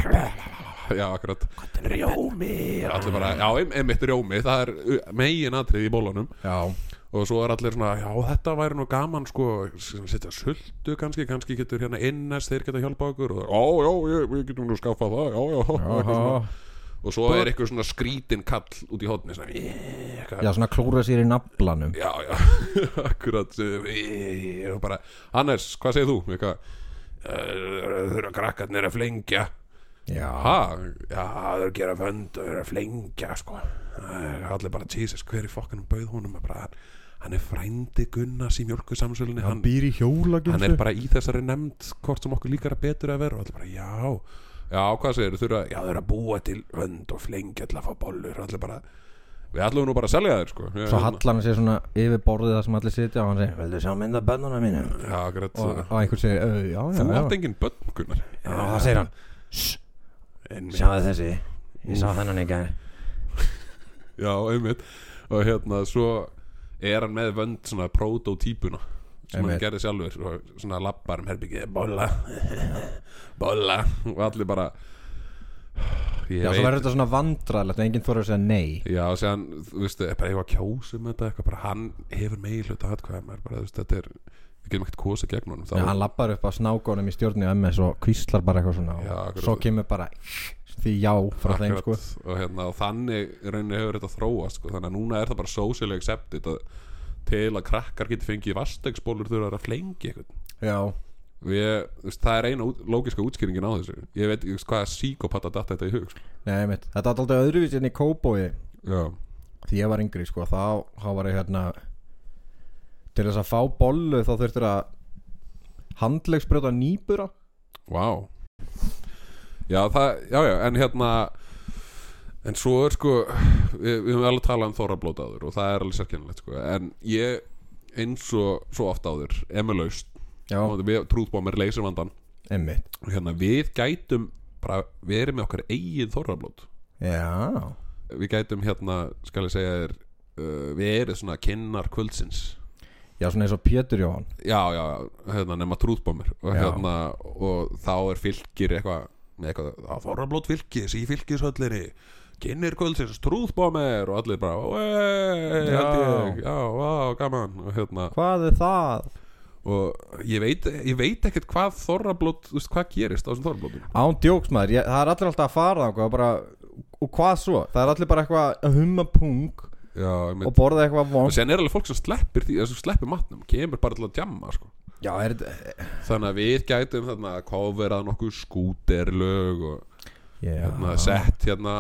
já, akkurat, Rjómi allir bara, já, ein- einmitt rjómi það er megin atrið í bólunum Já, og svo er allir svona, já þetta væri nú gaman sko, setja sultu kannski kannski getur hérna innest, þeir geta hjálpa okkur og já, já, ég, við getum nú skaffað það já, já, [LAUGHS] eitthvað svona. já, og svo er eitthvað svona skrítin kall út í hóðni svona, "Yeah", eitthvað. já svona klúra sér í naflanum já, já, [LAUGHS] akkurat sem, "Yeah", og bara, Hannes, hvað segir þú? eitthvað "Eh, þurfa krakkarnir að flengja Já, ha, já, það er að gera vönd og er að flengja, sko Það er allir bara, Jesus, hver í fokkanum bauð honum bara, hann- hann er frændi Gunnars í mjölkusamsölunni, hann, býr í hann er hjólaginsu bara í þessari nefnd hvort sem okkur líkar að betur að vera og allir bara, já, já, hvað segir þurfa, já, þau eru að búa til vönd og flengja til að fá bollur, allir bara við ætlum nú bara að selja þér, sko Ég- Svo hallar hann sér svona yfir borðið það sem allir sitja og hann segir Vildu sjá mynda bönnuna mínu? já, akkurat, Og, og einhver segir, "Ö, já, já, þú já átt engin börn, Gunnar Já, það segir hann, Einmitt. Sjáðu þessi Ég sá þennan í gær Já, einmitt og hérna svo er hann með vönd svona prototípuna sem Einmitt. hann gerði sjálfur og svona lappar um herbyggið bolla, [LAUGHS] bolla og allir bara ég Já, svo verður þetta svona vandræðilegt en enginn þóra að segja nei Já, og séðan, þú veist, er bara eitthvað kjósum þetta eitthvað, bara hann hefur megin hluta atkvæðum, er bara, þú veist, þetta er við getum ekkert kosa gegn honum þá, Já, hann lappar upp að snákónum í stjórnu MS og kvíslar bara eitthvað svona Já, og akkurat. svo kemur bara því já frá þeim sko Akkurat, og, hérna, og þannig í rauninni hefur þetta þróast sko, þannig að núna er það bara socially accepted að, til að krakkar geti fengið vastegsbólur þurfa að flengi eitthvað Já, Og ég, þú veist, það er eina út, lógiska útskýringin á þessu ég veit ekki hvað psíkopata datt þetta í hug sko. nei, mitt Þetta var alltaf öðruvísið enn í Kóbói já, því ég var yngri sko þá, þá var ég hérna til þess að fá bollu þá þurftur að handlegsbrjóta nýbura vá já, það, já, já, en hérna en svo er sko við, við höfum alveg talað um þorrablótaður og það er alveg sérkennilegt sko, en ég eins og svo oft áður emulaust, Já, trúðbómir leysir vandan einmitt og hérna við gætum bara verið með okkar eigin þorrablót Já, við gætum hérna, skal ég segja þér uh, við erum svona kynnar kvöldsins já svona eins og Pétur Jóhann já, já, hérna nema trúðbómir og Já. hérna, og þá er fylgir eitthvað, með eitthvað, þorrablót fylgis í fylgishöllinni kynir kvöldsins, trúðbómir og allir bara, "Ey, Já. held ég, já, vá, gaman og hérna, Hvað er það? og ég veit, ég veit ekkert hvað þorrablót, þú veist, hvað gerist á þessum þorrablótum Án djóks maður, ég, það er allir alltaf að fara þangað og bara, og hvað svo? Það er allir bara eitthvað að humma pung já, ég mynd og borða eitthvað og vond sen er alveg fólk sem sleppir því sem sleppir matnum, kemur bara til að djamma sko. Já, er þetta þannig að við gætum þarna að coverað nokkuð skúterlög og Já, hérna, sett hérna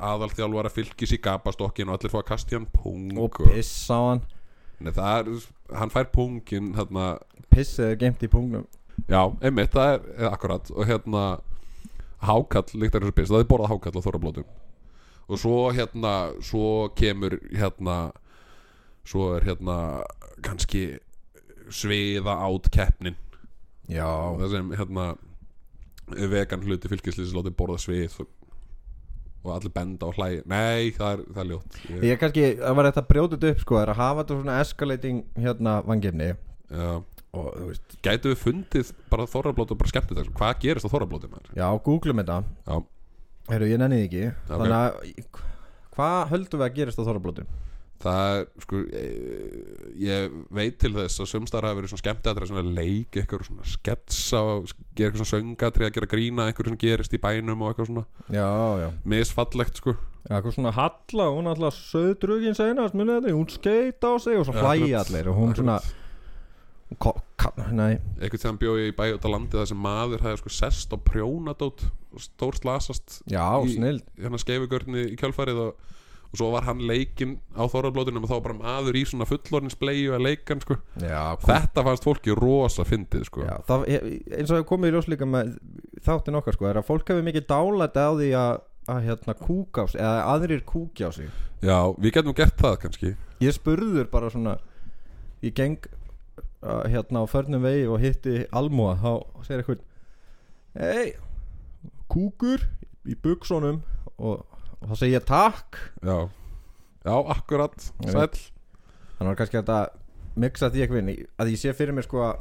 aðalþjálfara fylgis í gapastokkin og allir fá að kasta í hann pung og piss á hann Nei, það er, hann fær pungin hérna, Pissið er geimt í pungnum já, einmitt, það er eh, akkurat og hérna hákall, líktar þessu piss, það er borðað hákall á þorrablótum og svo hérna svo kemur hérna svo er hérna kannski sviða át keppnin Já, það sem hérna vegan hluti fylgislýsins látið borða svið og, og allir benda og hlæja nei, það er, það er ljótt ég, Ég er kannski, það var þetta brjótið upp sko, er að hafa þetta svona escalating hérna vangefni já. og þú veist, gætu við fundið bara þorrablót og bara skemmt þetta hvað gerist á þorrablóti maður já, googlum þetta já, Heyrðu, ég nennið ekki Þannig að, hvað höldum við að gerist á Þorrablótum? það er sko ég, ég veit til þess að sömstar hafa verið svona skemmt aðra svona leik eitthvað svona sketsa og gera eitthvað svona söngatri að gera grína eitthvað sem gerist í bænum og eitthvað svona Já, já, misfallegt sko já, hvað svona Halla, hún alltaf söðdrugin seinast, munið þetta, hún skeit á sig og svo hlæja Akkurat, allir og hún svona akkurat. ko, ka, Nei, einhvern tíðan bjóði í bæ út á landi þar sem maður hafði sko sest á prjónadót og stór slasast já, í, snill hérna skeifugörni í kjölfarið og, og svo var hann leikinn á þorrablótunum og þá var bara maður í svona fullorninsbleiu að leikan sko. Já, þetta fannst fólki rosa fyndið sko. Já, það, ég- eins og hefur komið í ljós líka með þáttin okkar sko, er að fólk hefur mikið dálætt á því að, að hérna kúka á sig, eða aðrir kúkja á sig Já, við getum gert það kannski ég spurður bara svona ég geng uh, hérna á förnum vegi og hitti almúa þá segir eitthvað hei, kúkur í buksonum og, og þá segi ég takk Já, já akkurat, Ég sæll þannig var kannski hægt að mixa því eitthvað inn í- að ég sé fyrir mér sko að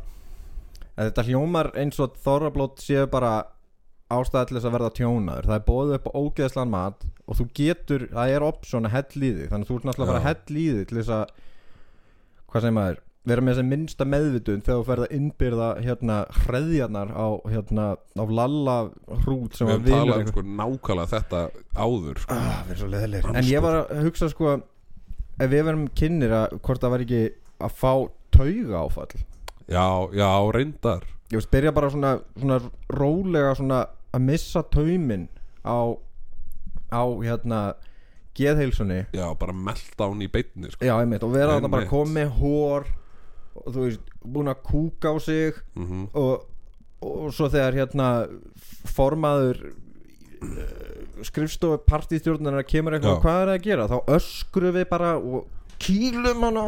að þetta hljómar eins og þorrablót séu bara ástæða til þess að verða tjónaður það er bóðið upp á ógeðslan mat og þú getur, það er option að hell í þig þannig að þú ert náttúrulega bara Já. að hell í þig til þess að hvað segir maður, vera með þessi minnsta meðvitund þegar þú ferð að innbyrða hérna hreðjarnar á hérna á lalla hrút sem Við að höfum vinur talað um sko, nákvæmlega þetta áður sko. Ah, við erum svo leðilegir En ég var að hugsa sko Ef við verum kynir að hvort það var ekki að fá tauga áfall Ég Já, já, reyndar veist byrja bara svona, svona rólega svona að missa tauminn á, á hérna geðheilsunni Já, bara melta hann í beinni sko. Já einmitt og vera þarna bara Einmitt. komið hór og þú veist búin að kúka á sig Mhm. og, og svo þegar hérna formaður eh, skrifstofu partistjórnarnar kemur eitthvað Já. hvað er það að gera þá öskru við bara og kýlum hana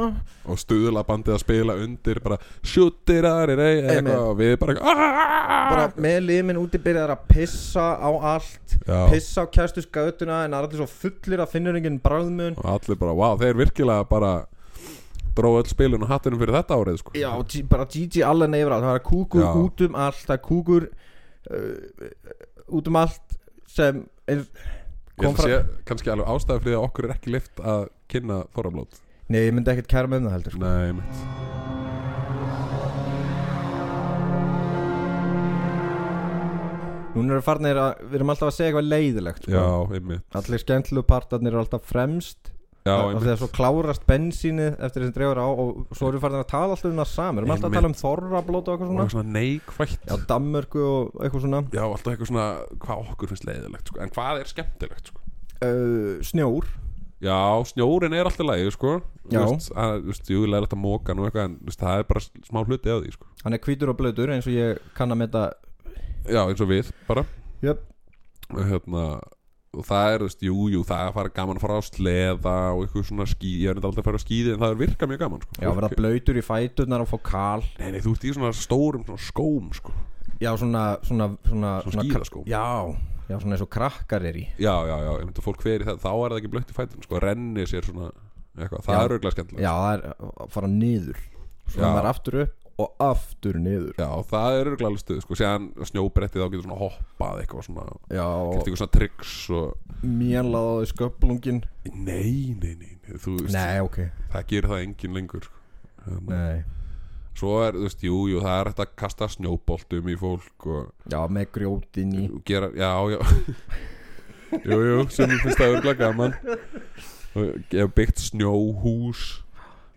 og stuðla bandið að spila undir bara shootir aðri rey eitthvað og við bara, "Ah!" bara bara með limin úti byrjar að pissa á allt Já. pissa á kæstu skautuna en það er allir svo fullir að finnur enginn bráðmun og allir bara, wow, þeir virkilega bara dró öll spilin og hattinum fyrir þetta árið sko. Já, G- bara Gigi Allen yfir allt Það er kúkur Já. út um allt Það er kúkur uh, út um allt sem er, Ég kom ætla að frá- sé kannski alveg ástæði fyrir því að okkur er ekki lift að kynna Þorrablót Nei, ég myndi ekkert kæra með það heldur sko. Nei, mitt Núna erum við farnir að, við erum alltaf að segja eitthvað leiðilegt sko. Já, einmitt Allir skemmtlu partarnir eru alltaf fremst Já, Af því að einmitt svo klárast bensínið eftir þessi dreifur á og svo erum við farin að tala alltaf um það saman Við erum alltaf að tala um þorrablót og eitthvað Og svona svona neikvætt Já, Danmörku og eitthvað svona Já, alltaf eitthvað svona hvað okkur finnst leiðilegt sko. En hvað er skemmtilegt sko? uh, Snjór Já, snjórin er alltaf lægi sko. Þú Já. veist, að, þú veist, Jú, leiðilegt að móka nú eitthvað En þú veist, það er bara smá hluti af því sko. Hann er hvítur og blöður eins og ég kann að meta Já, eins og við bara Jöp og hérna og það er, þú veist, jú, jú, það er að fara gaman að fara á sleða og eitthvað svona skíði ég er þetta aldrei að fara á skíði en það er virka mjög gaman sko. Já, verða blöytur í fæturnar og fá kal nei, nei, þú ert í svona stórum svona skóm sko. Já, svona Svona, svona, Svona svona skíðaskóm. Já, já, svona eins og krakkar er í já, já, já, ég myndi að fólk fyrir það þá er það ekki blökt í fætin, sko, renni sér svona eitthvað, það Já. er auðvitað skemmtilegt Já, það er að fara niður Svona Já. maður aftur upp og aftur niður já, það er auðvitað alveg stuð, sko, séðan snjóbretti þá getur svona hoppað eitthvað svona Já, gert og eitthvað svona tricks og mér laðaði sköplungin nei, nei, nei, nei, þú veist Nei, ok það gerir það engin lengur sko. Hérna. Nei. svo er, þú veist, jú, jú, það er hægt að kasta snjóboltum í fólk og Já, með grjótin í og gera, já, [LAUGHS] já Jú, jú, sem mér finnst það örgulega gaman og ég hef byggt snjóhús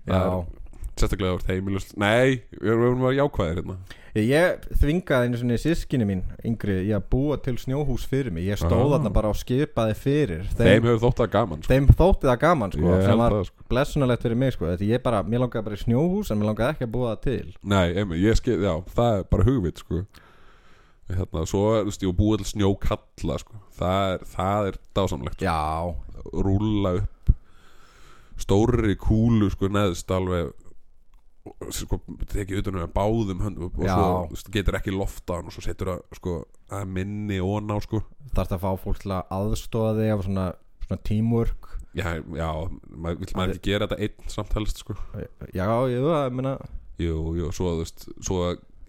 Það Já. er- Sérstaklega þú ert heimilust Nei, við erum við erum að vera jákvæðir hérna Ég þvingaði einu svona sískinni mín yngri í að búa til snjóhús fyrir mig Ég stóð Ah. þarna bara og skipaði fyrir Þeim hefur þótt það gaman sko. þeim þótti það gaman sko, Ég held sem var það, sko. blessunalegt fyrir mig sko. Þetta ég bara, mér langaði bara í snjóhús en mér langaði ekki að búa það til Nei, einmitt, ég skil, já, það er bara hugvit sko. Hérna, svo er, þú veist, ég var búið til snjókalla sko. það, er, það er dásamlegt sko. já, Rúlla upp Stórri kúlu, sko, neðst alveg og, sko, tekið utan um með báðum höndum og Já. svo þú veist, getur ekki lofta hann og svo setur það sko, að minni ón á sko. þarfst að fá fólk til að aðstofa þig af svona, svona teamwork já, já, maður, vill maður ekki gera þetta einn samtalist sko. já, ég það, ég meina jú, jú, svo, þú veist, svo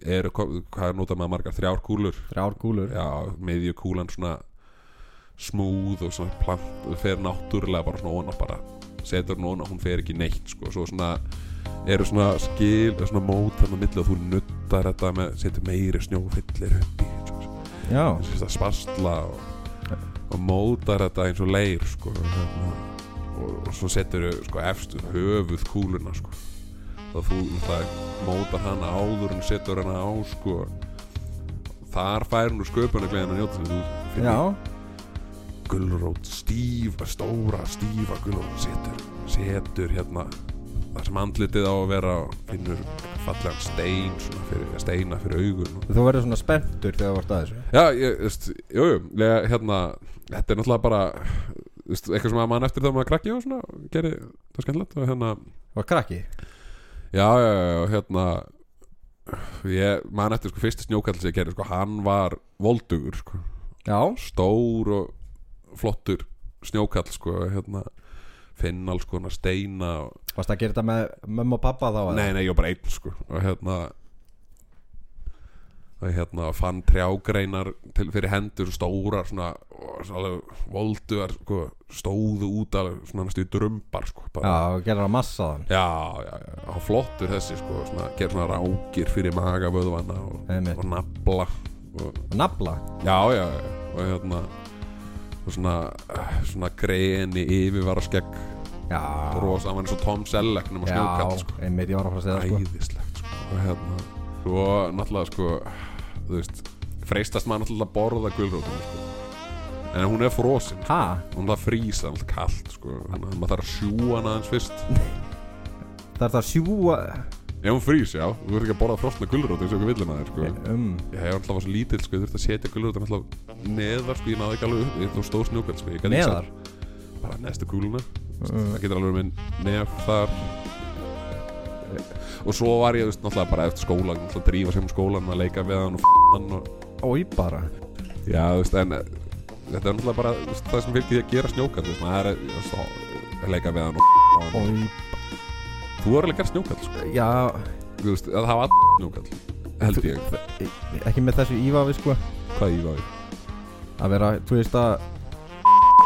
eru kom- hvað er notað maður margar þrjár kúlur þrjár gúlur já, miðju kúlan svona smúð og svona plant og fer náttúrulega bara svona ón á bara setur hún ón á, hún fer ekki neitt sko. svo svona eru svona skil eða svona mót þannig að milli og þú nuttar þetta með, setur meiri snjófyllir upp í sko. svo, já, Þessi fyrst að spastla og, og mótar þetta eins og leir sko, hérna. og, og svo setur þau sko, efstu höfuð kúluna sko. það þú það mótar hana áður en setur hana á sko. þar fær hún úr sköpuna gleðin að njóta sem þú já, gulrót stífa, stóra stífa gulrót setur, setur hérna þar sem andlitið á að vera og finnur fallegan stein svona fyrir, steina fyrir augun og þú verður svona spenntur þegar þú vart að þessu Já, ég, þú veist, jú, jú, ég, hérna, þetta er náttúrulega bara, þú veist, eitthvað sem að mann eftir þegar maður er krakki og svona, og gerir það skemmtilegt og hérna, var krakki, já, já, já, já, hérna, ég, mann eftir sko fyrsti snjókall sem ég gerir, sko, hann var voldugur, sko, já, stór og flottur snjókall, sko, hérna, finn alls konar steina og, varst að gera þetta með mömmu og pappa þá eða? nei, nei, ég var bara einn, sko, og hérna, og hérna fann trjágreinar til, fyrir hendur stórar svona, og svona alveg volduðar sko, stóðu út alveg svona næstu í drömbar sko, bara. já, gera það massa þann já, já, já, hann flottur þessi sko, svona, gera svona rákir fyrir magavöðvanna og, Einmitt. og nafla og, nafla, já, já, já, og hérna og svona, eh, svona greni yfirvara skegg já rosa, hann var eins og Tom Selleck nema snjókall já, sko einmitt ég var að fara að segja það sko æðislegt sko. og hérna svo náttúrulega sko þú veist, freistast maður náttúrulega að borða gulrótum sko. en hún er frosin ha, hún það frýsa alltaf kalt sko. þannig að maður þarf að sjúa hana aðeins fyrst það er það sjúa ef hún frýs, já, þú verður ekki að borða frosna gulrótum eins og okkur villum aðeins sko. [LAUGHS] um, ég hef alltaf svo lítill, sko, ég þurfti að setja gulrótum alltaf neðar, sko, ég náði ekki alveg upp ég þó stóð snjókvæld, sko, ég gat ekki neðar sett bara neðstu kúluna það getur alveg minn nef þar og svo var ég, þú veist, náttúrulega bara eftir skóla náttúrulega að drífa sem skólan að leika við hann og f*** hann og, Ói bara já, þú veist, en eh, þetta er náttúrulega bara þú veist, það sem fylgir því að gera snjókall, þú veist, maður er þú veist, að leika við hann og f*** hann Ói Þú var alveg gert snjókall sko. Já, Þú veist, að það var all snjókall Held ég, e, ekki með þessu ívafi sko hvað ég var í Að vera, þú veist að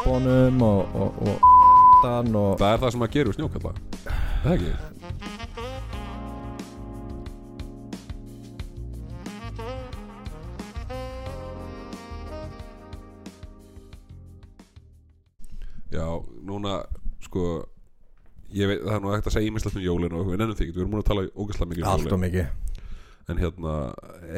Bónum og og, og, dan og Það er það sem að gera við snjókalla Það ekki Já, núna sko ég veit, það er nú ekkert að segja ímislegt um jólin og við nennum því ekki, við erum múin að tala ógæslega mikið um Allt og jólin, mikið en hérna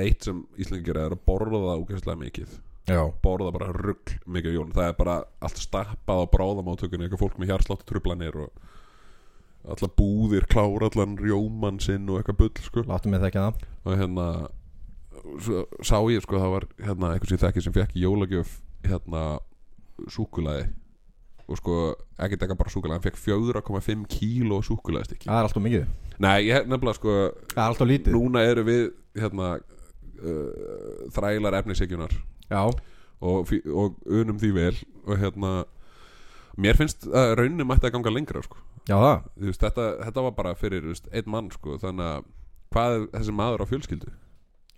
eitt sem Íslingi gera er að borða ógæslega mikið, Já, borða bara rugg mikið um jólin, það er bara allt stappað á bráðamátökunni, eitthvað fólk með hjarsláttu trublanir og allar búðir klára allan rjóman sinn og eitthvað bull sko láttu mig þekka það og hérna svo, sá ég sko það var hérna eitthvað sem ég þekki sem fekk í jólagjöf hérna súkulaði og sko ekki dekka bara súkulaði hann fekk 4,5 kíló súkulaði Það er allt og mikið nei ég hef nefnilega sko Það er allt og lítið núna eru við hérna uh, þrælar efnisekjunar Já, og, fí- og unum því vel og hérna mér finnst að raunin mætti að ganga lengra sko já það Þú veist, þetta, þetta var bara fyrir þú veist, einn mann sko þannig að hvað er þessi maður á fjölskyldu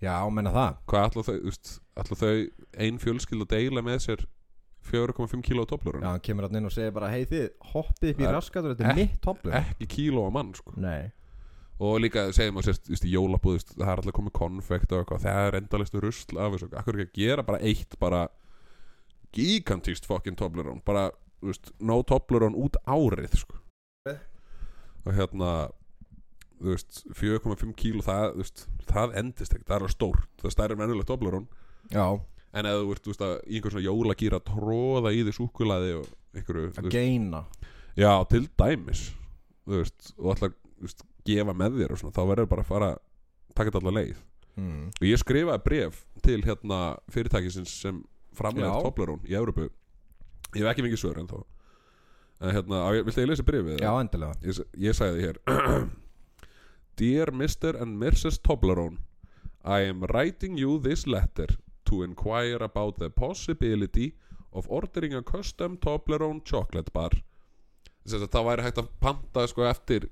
Já, menna það hvað ætla þau, þú veist, ætla þau ein fjölskyld að deila með sér 4,5 kíló á Já, toplurinn hann kemur hann inn og segir bara Hei þið, hoppið upp í Það- raskatur, þetta er Eh, mitt toplur ekki kíló á mann sko. Nei og líka segjum að sérst, þú veist, í jólabúð þú veist, það er alltaf komið konfekt og eitthvað það er endalistu rusl af þessu akkur ekki að gera bara eitt bara gigantíst fokkin toplurinn bara, þú veist, no toplurinn út árið sko. Eh. og hérna þú veist, 4,5 kíló það, þú veist, það endist ekki, það er alveg stórt það er stærri mennulegt toplurinn Já, En ef þú ert, þú veist, að í einhver svona jólagýra tróða í þig súkulaði og einhverju, þú að veist, geina já, til dæmis, þú veist, og ætla að, þú veist, gefa með þér og svona, þá verður bara að fara að taka þetta allar leið. mm. Og ég skrifaði bref til, hérna, fyrirtækisins sem Já. framleitt Toblerón í Evrópu. Ég hef ekki mikið svör en þó. En, hérna, á ég- viltu að ég lesi brefið? Já, endilega ég, ég sagði hér [CLEARS THROAT] Dear Mr. and Mrs. Toblerone I am writing you this letter to inquire about the possibility of ordering a custom Toblerone chocolate bar þess að það væri hægt að panta sko eftir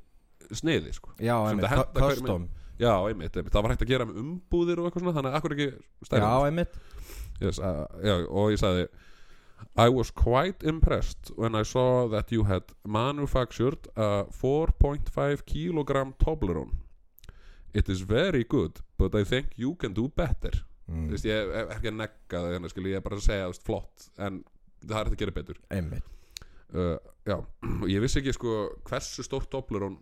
sniði sko Já, Sem einmitt, þetta henta cu- hverjum custom Já, einmitt, einmitt, það var hægt að gera með umbúðir og eitthvað svona þannig að akkur ekki Já, stærðum einmitt yes, uh, já, og ég sagði I was quite impressed when I saw that you had manufactured a 4.5 kilogram Toblerone It is very good but I think you can do better mm. Þvist, ég er ekki að negga það hérna, skil, ég er bara að segja þú veist, flott en það er hægt að gera betur Einmitt uh, Já, [CLEARS THROAT] og ég vissi ekki sko hversu stórt Toblerone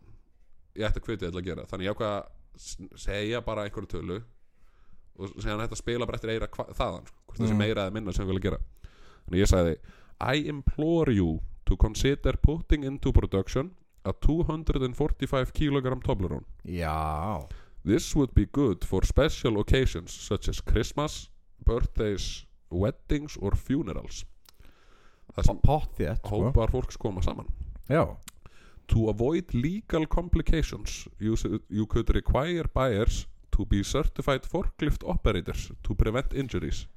ég ætti að hvitið ætla að gera þannig ég ákvað að s- segja bara einhverju tölu og segja hann hætti að spila bara eftir eira hva- þaðan sko, hvort þessi meira eða minna sem við vilja gera þannig ég sagði I implore you to consider putting into production a 245 kg Toblerone Já This would be good for special occasions such as Christmas, birthdays, weddings or funerals Það sem Pott þétt, sko hópar fólks koma saman Já To avoid legal complications, you, s- you could require buyers to be certified forklift operators to prevent injuries.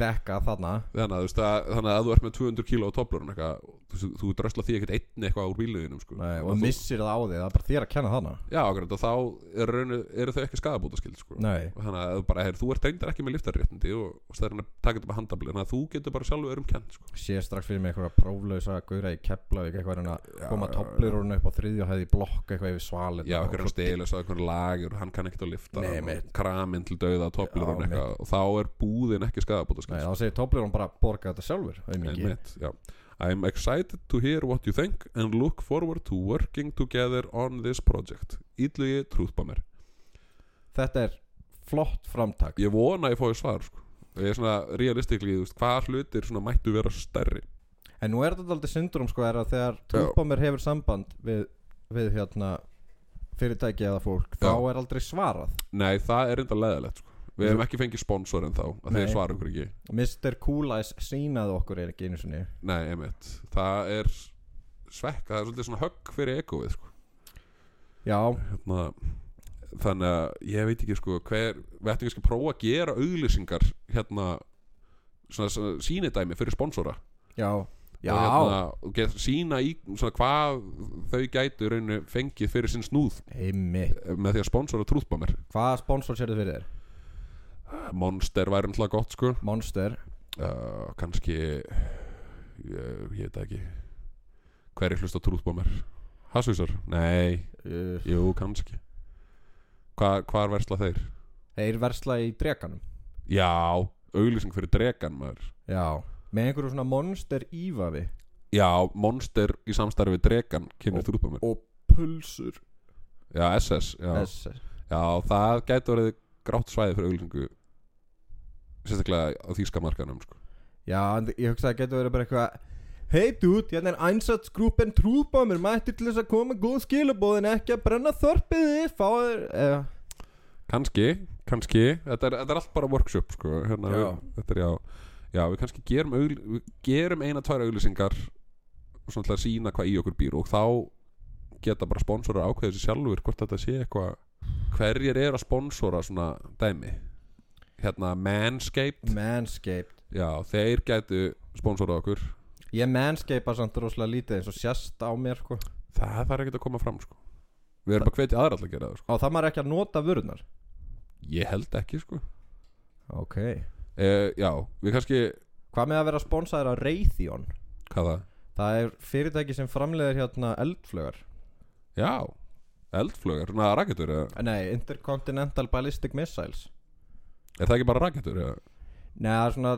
Dekka þarna Þannig að, þú veist, að, þannig að ef þú ert með 200 kíló á toplurinn eitthvað, þú, þú drösla því ekkert einni eitthvað úr bíluðinum sko. Nei, Þannig og að þú, missir það á þig, það er bara þér að kenna þarna Já, akkurat, og þá er raun, eru þau ekki skadabótaskild sko. Nei Og Þannig að þú bara, heyr, þú ert reyndar ekki með liftarréttindi og, og stærðin að taka þetta bara handabli þannig að þú getur bara sjálfur örum kent sko. sé strax fyrir mig einhverja próflausa gauðra í Keflavík eitthvað er hann að koma toplur úr upp á þriðju og hefði í blokk eitthvað yfir svalin Já, eitthvað er stelist að eitthvað lagur hann kann ekkert að lifta Nei, og mitt. kraminn til dauða á toplurinn Já, mitt. eitthvað og þá er búðin ekki skadabótaskild Nei, þá segir toplur bara borga þetta sjálfur aumingi Einmitt, já. I'm excited to hear what you think and look forward to working together on this project Ídlugi trúðbamir Þetta er flott framtak Ég vona að ég fóði svar sko. Ég er svona realistikli, þú veist, hvað hlutir svona mættu vera stærri En nú er þetta aldrei syndrom sko er að þegar trúbámir hefur samband við, við hérna fyrirtæki eða fólk þá Já. er aldrei svarað Nei, það er enda leðilegt sko. Við hefum ekki fengið sponsor en þá að Nei. þeir svara okkur ekki Mr. Coolice sínaði okkur er ekki einu sinni Nei, einmitt, það er svekka, það er svolítið svona högg fyrir egoið sko. Já, hérna, Þannig að ég veit ekki sko, hver, við ættum ekki að prófa að gera auglýsingar hérna, svona, svona sýnidæmi fyrir sponsora já, Já. og, hérna, og get, sína í svona, hvað þau gætu í rauninu fengið fyrir sinn snúð Heimmi eh, með því að sponsora trúðbámir Hvaða sponsor sér þið fyrir þér? Eh, Monster væri náttúrulega gott sko Monster uh, kannski ég, ég veit það ekki hver er hlust á trúðbámir Hassvísar? Nei, uh, jú, kannski Hva, Hvar versla þeir? Þeir versla í dreganum Já, auglýsing fyrir dregan maður Já Með einhverju svona monster ívafi Já, Monster í samstarfi við Dregan kynir þrúðbámið Og pulsur Já, SS já. Þess já, það gæti verið grátt svæði fyrir auglýsingu Sérstaklega á þýska markanum sko. Já, en ég hugsa að það getur verið bara eitthvað Hey dude, hérna er einsatsgrúpen trúðbámir Mættir til þess að koma með góð skilabóð En ekki að brenna þorpið þið Fáður uh, Kanski, kanski Þetta er, þetta er allt bara workshop sko. hérna, Já. við, þetta er, já, já, við kannski gerum, augl, við gerum eina, tvær auglýsingar og svona til að sína hvað í okkur býr og þá geta bara sponsorar ákveðið sér sjálfur hvort þetta sé eitthvað hverjir eru að sponsora svona dæmi hérna Manscaped Manscaped Já, þeir gætu sponsora okkur Ég manscapea samt rosalega lítið eins og sérst á mér sko. Það þarf ekki að koma fram sko Við erum bara hvetja aðra alltaf að gera það sko Á það maður ekki að nota vörunar Ég held ekki sko Ok e, Já, við kannski Hvað með að vera sponsaður af Raytheon? Hvað það? Það er fyrirtæki sem framleiðir hérna eldflögar Já, eldflögar, svona raketur eða? Nei, Intercontinental Ballistic Missiles Er það ekki bara raketur? Eða? Nei, það er svona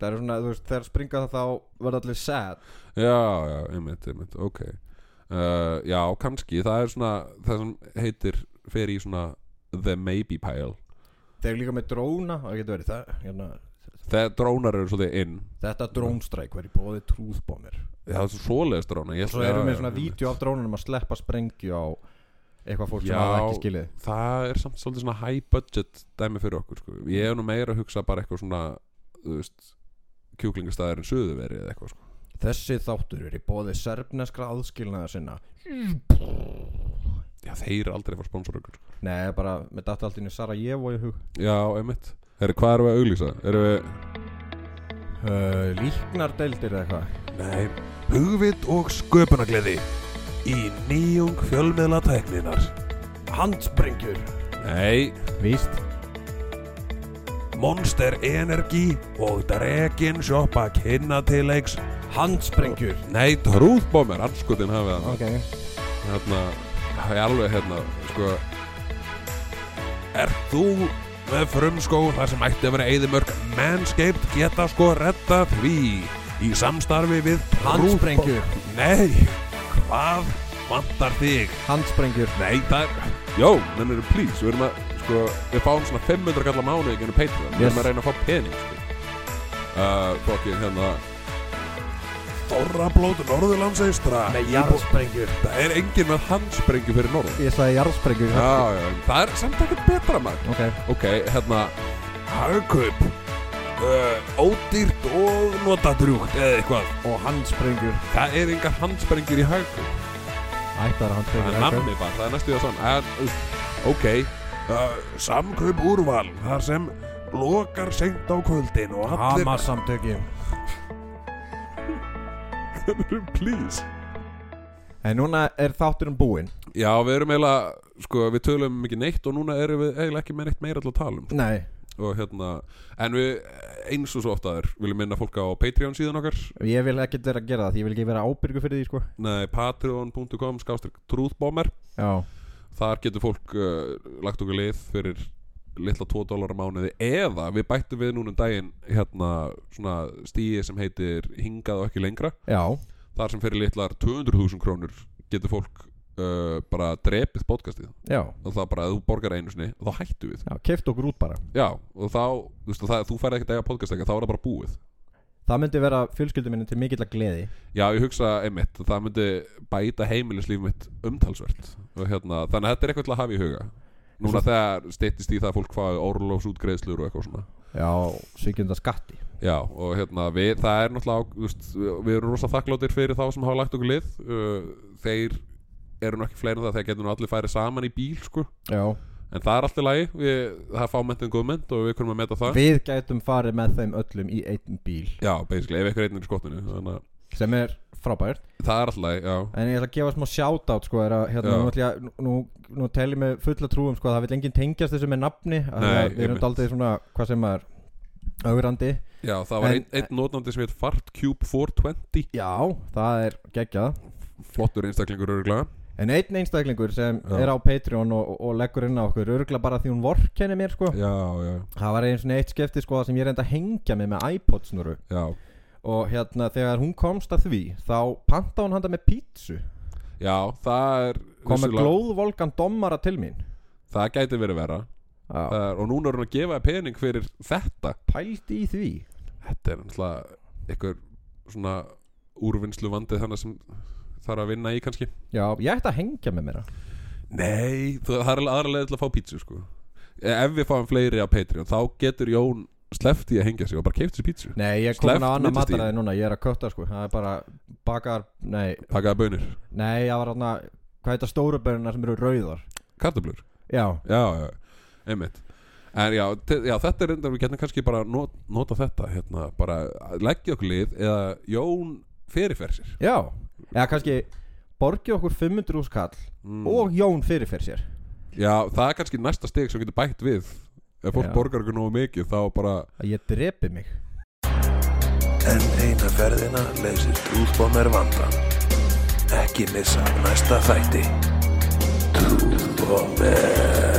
Það er svona, þú veist, þegar springa það þá verða allir sad Já, já, einmitt, einmitt, ok uh, Já, kannski, það er svona Það sem heitir, fer í svona The Maybe Pile Þeir eru líka með dróna Það getur verið það hérna, Þegar drónar eru svolítið inn Þetta drónstræk verið bóði trúðbómir Það er svoleiðist dróna ég- Svo já, já, erum við svona einmitt. vídeo af drónunum að sleppa sprengju á eitthvað fólk Já. sem hafa ekki skilið það er samt svolítið svona high budget dæmi fyrir okkur sko. ég hef nú meira að hugsa bara eitthvað svona þú veist, kjúklingastæðir en suðuveri eða eitthvað sko. Þessi þáttur er í bóði serbneskra aðskilnaða sinna já, þeir eru aldrei að fara sponsor okkur sko. Nei, bara, með datt allt inn í Sarajevo í hug já, einmitt Herri, hvað erum við að auglýsa? Erum við... uh, Líknardeildir eða eitthvað Nei, hugvit og sköpunagleði í nýjung fjölmiðla tækninar. Handsprengjur, Nei, Víst Monster Energy og Dragon Shoppa kynna til leiks. Handsprengjur nei, trúðbómir, anskutin hafið hann Ok Hérna, það er alveg hérna, sko Er þú með frumskó þar sem ætti að vera eðimörk Manscaped geta sko retta því í samstarfi við Handsprengjur. Trúðbó- Nei, hvað vantar þig? Handsprengjur Nei, það er... Jó, mennur, please, við erum að, sko, við fáum svona 500 kallar mánu ekki ennum Patreon Við Yes. erum að reyna að fá pening, sko Uh, fokkin, hérna, Þorrablót Norðurlandseistra Með jarðsprengjur það er enginn með handsprengju fyrir norðan Ég sagði jarðsprengjur Já, já, það er samt ekkert betra maður Ok Ok, hérna, eh, Hagkaup uh, Ódýrt og notadrjúkt eða eitthvað Og handsprengjur það er engar handsprengir í hagu Ættar Það handsprengjur er namni bara, það er næstu það svona en, uh, Ok, eh, uh, Samkaup úrval þar sem lokar seint á kvöldin og allir [LAUGHS] Hamas samtöki um, please En núna er þátturinn búinn Já, við erum eiginlega, sko, við tölum ekki neitt og núna erum við eiginlega ekki með neitt meira til að tala um sko. Nei og hérna, en við eins og svo ofta er, viljum minna fólk á Patreon síðan okkar Ég vil ekkert vera að gera það því Ég vil ekki vera ábyrgu fyrir því sko Nei, patreon.com skástrík trúðbómer Já þar getur fólk uh, lagt okkur lið fyrir litla 2 dólar á mánuði eða við bættum við núna um daginn hérna svona stíi sem heitir hingað og ekki lengra Já þar sem fyrir litlar 200.000 krónur getur fólk uh, bara drepið podcastið Já og það bara að þú borgar einu sinni þá hættu við Já, keft okkur út bara já og þá, þú veist það, þú færði ekkert að eiga podcast ekki þá er það bara búið Það myndi vera fjölskyldum minni til mikill að gleði já ég hugsa einmitt að það myndi bæta heimilislíf mitt umtalsvert og hérna þannig að þetta er eitthvað til að hafa í huga núna þegar steyttist í það að fólk fái orlofsútgreiðslur og eitthvað svona Já, svíkjunda skatti Já, og hérna, við, það er náttúrulega, á- þú veist, við erum rosa þakkláttir fyrir þá sem hafa lagt okkur lið uh, Þeir eru nú ekki fleiri en það, þeir getur nú allir færið saman í bíl, sko Já En það er allt í lagi, við, það er fámentin góðmynd og við kunum að meta það Við gætum farið með þeim öllum í einn bíl Já, basically, ef eitthvað einn er í skottinu, þannig að sem er frábært Það er alltaf, já en ég ætla að gefa smá shoutout sko, er að, hérna, Já. nú, ætla ég að- nú, nú tel ég með fulla trúum sko, að það vil enginn tengjast þessu með nafni Nei, að við erum einmitt. daldið svona hvað sem er augrandi Já, það var En- einn ein notandi sem heit FartCube420 já, það er geggjað Flottur einstaklingur örgulega en einn einstaklingur sem Já. er á Patreon og, og leggur inn á okkur örgla bara því hún vorkenni mér sko. Já, já, það var eins og eitt skefti sko, sem ég reyndi að hengja mig með iPod snuru já og hérna þegar hún komst að því þá panta hún handa með pítsu Já, það er kom með vissulega- glóðvolgan dommara til mín Það gæti verið vera já, það er, Og núna er hún að gefa þér pening fyrir þetta pælt í því Þetta er náttúrulega einhver svona úrvinnslu vandið þannig sem þarf að vinna í kannski já, ég ætti að hengja með mér Nei, þú- það er alveg aðra leið til að fá pítsu sko Ef við fáum fleiri á Patreon þá getur Jón sleft í að hengja sig og bara keift sér pítsu nei, ég er komin Sleppt á annar millistigi. mataræði núna ég er að kötta sko, það er bara bakar nei, Pakaða bönir, nei, það var hérna hvað heita stóru börnina sem eru rauðar kartöflur já, Já, já, einmitt En já, te- já þetta er reyndar við getum kannski bara not, nota þetta hérna, bara leggja okkur lið eða Jón fyrirfer sér já eða kannski borgi okkur 500 úrskall Mm. og Jón fyrirfer sér Já, það er kannski næsta steg sem getur bætt við Ef fólk Já. borgar okkur nógu mikið þá bara að ég drepi mig En eina ferðina leysir Trúðbomber vandan. Ekki missa af næsta þætti. Trúðbomber.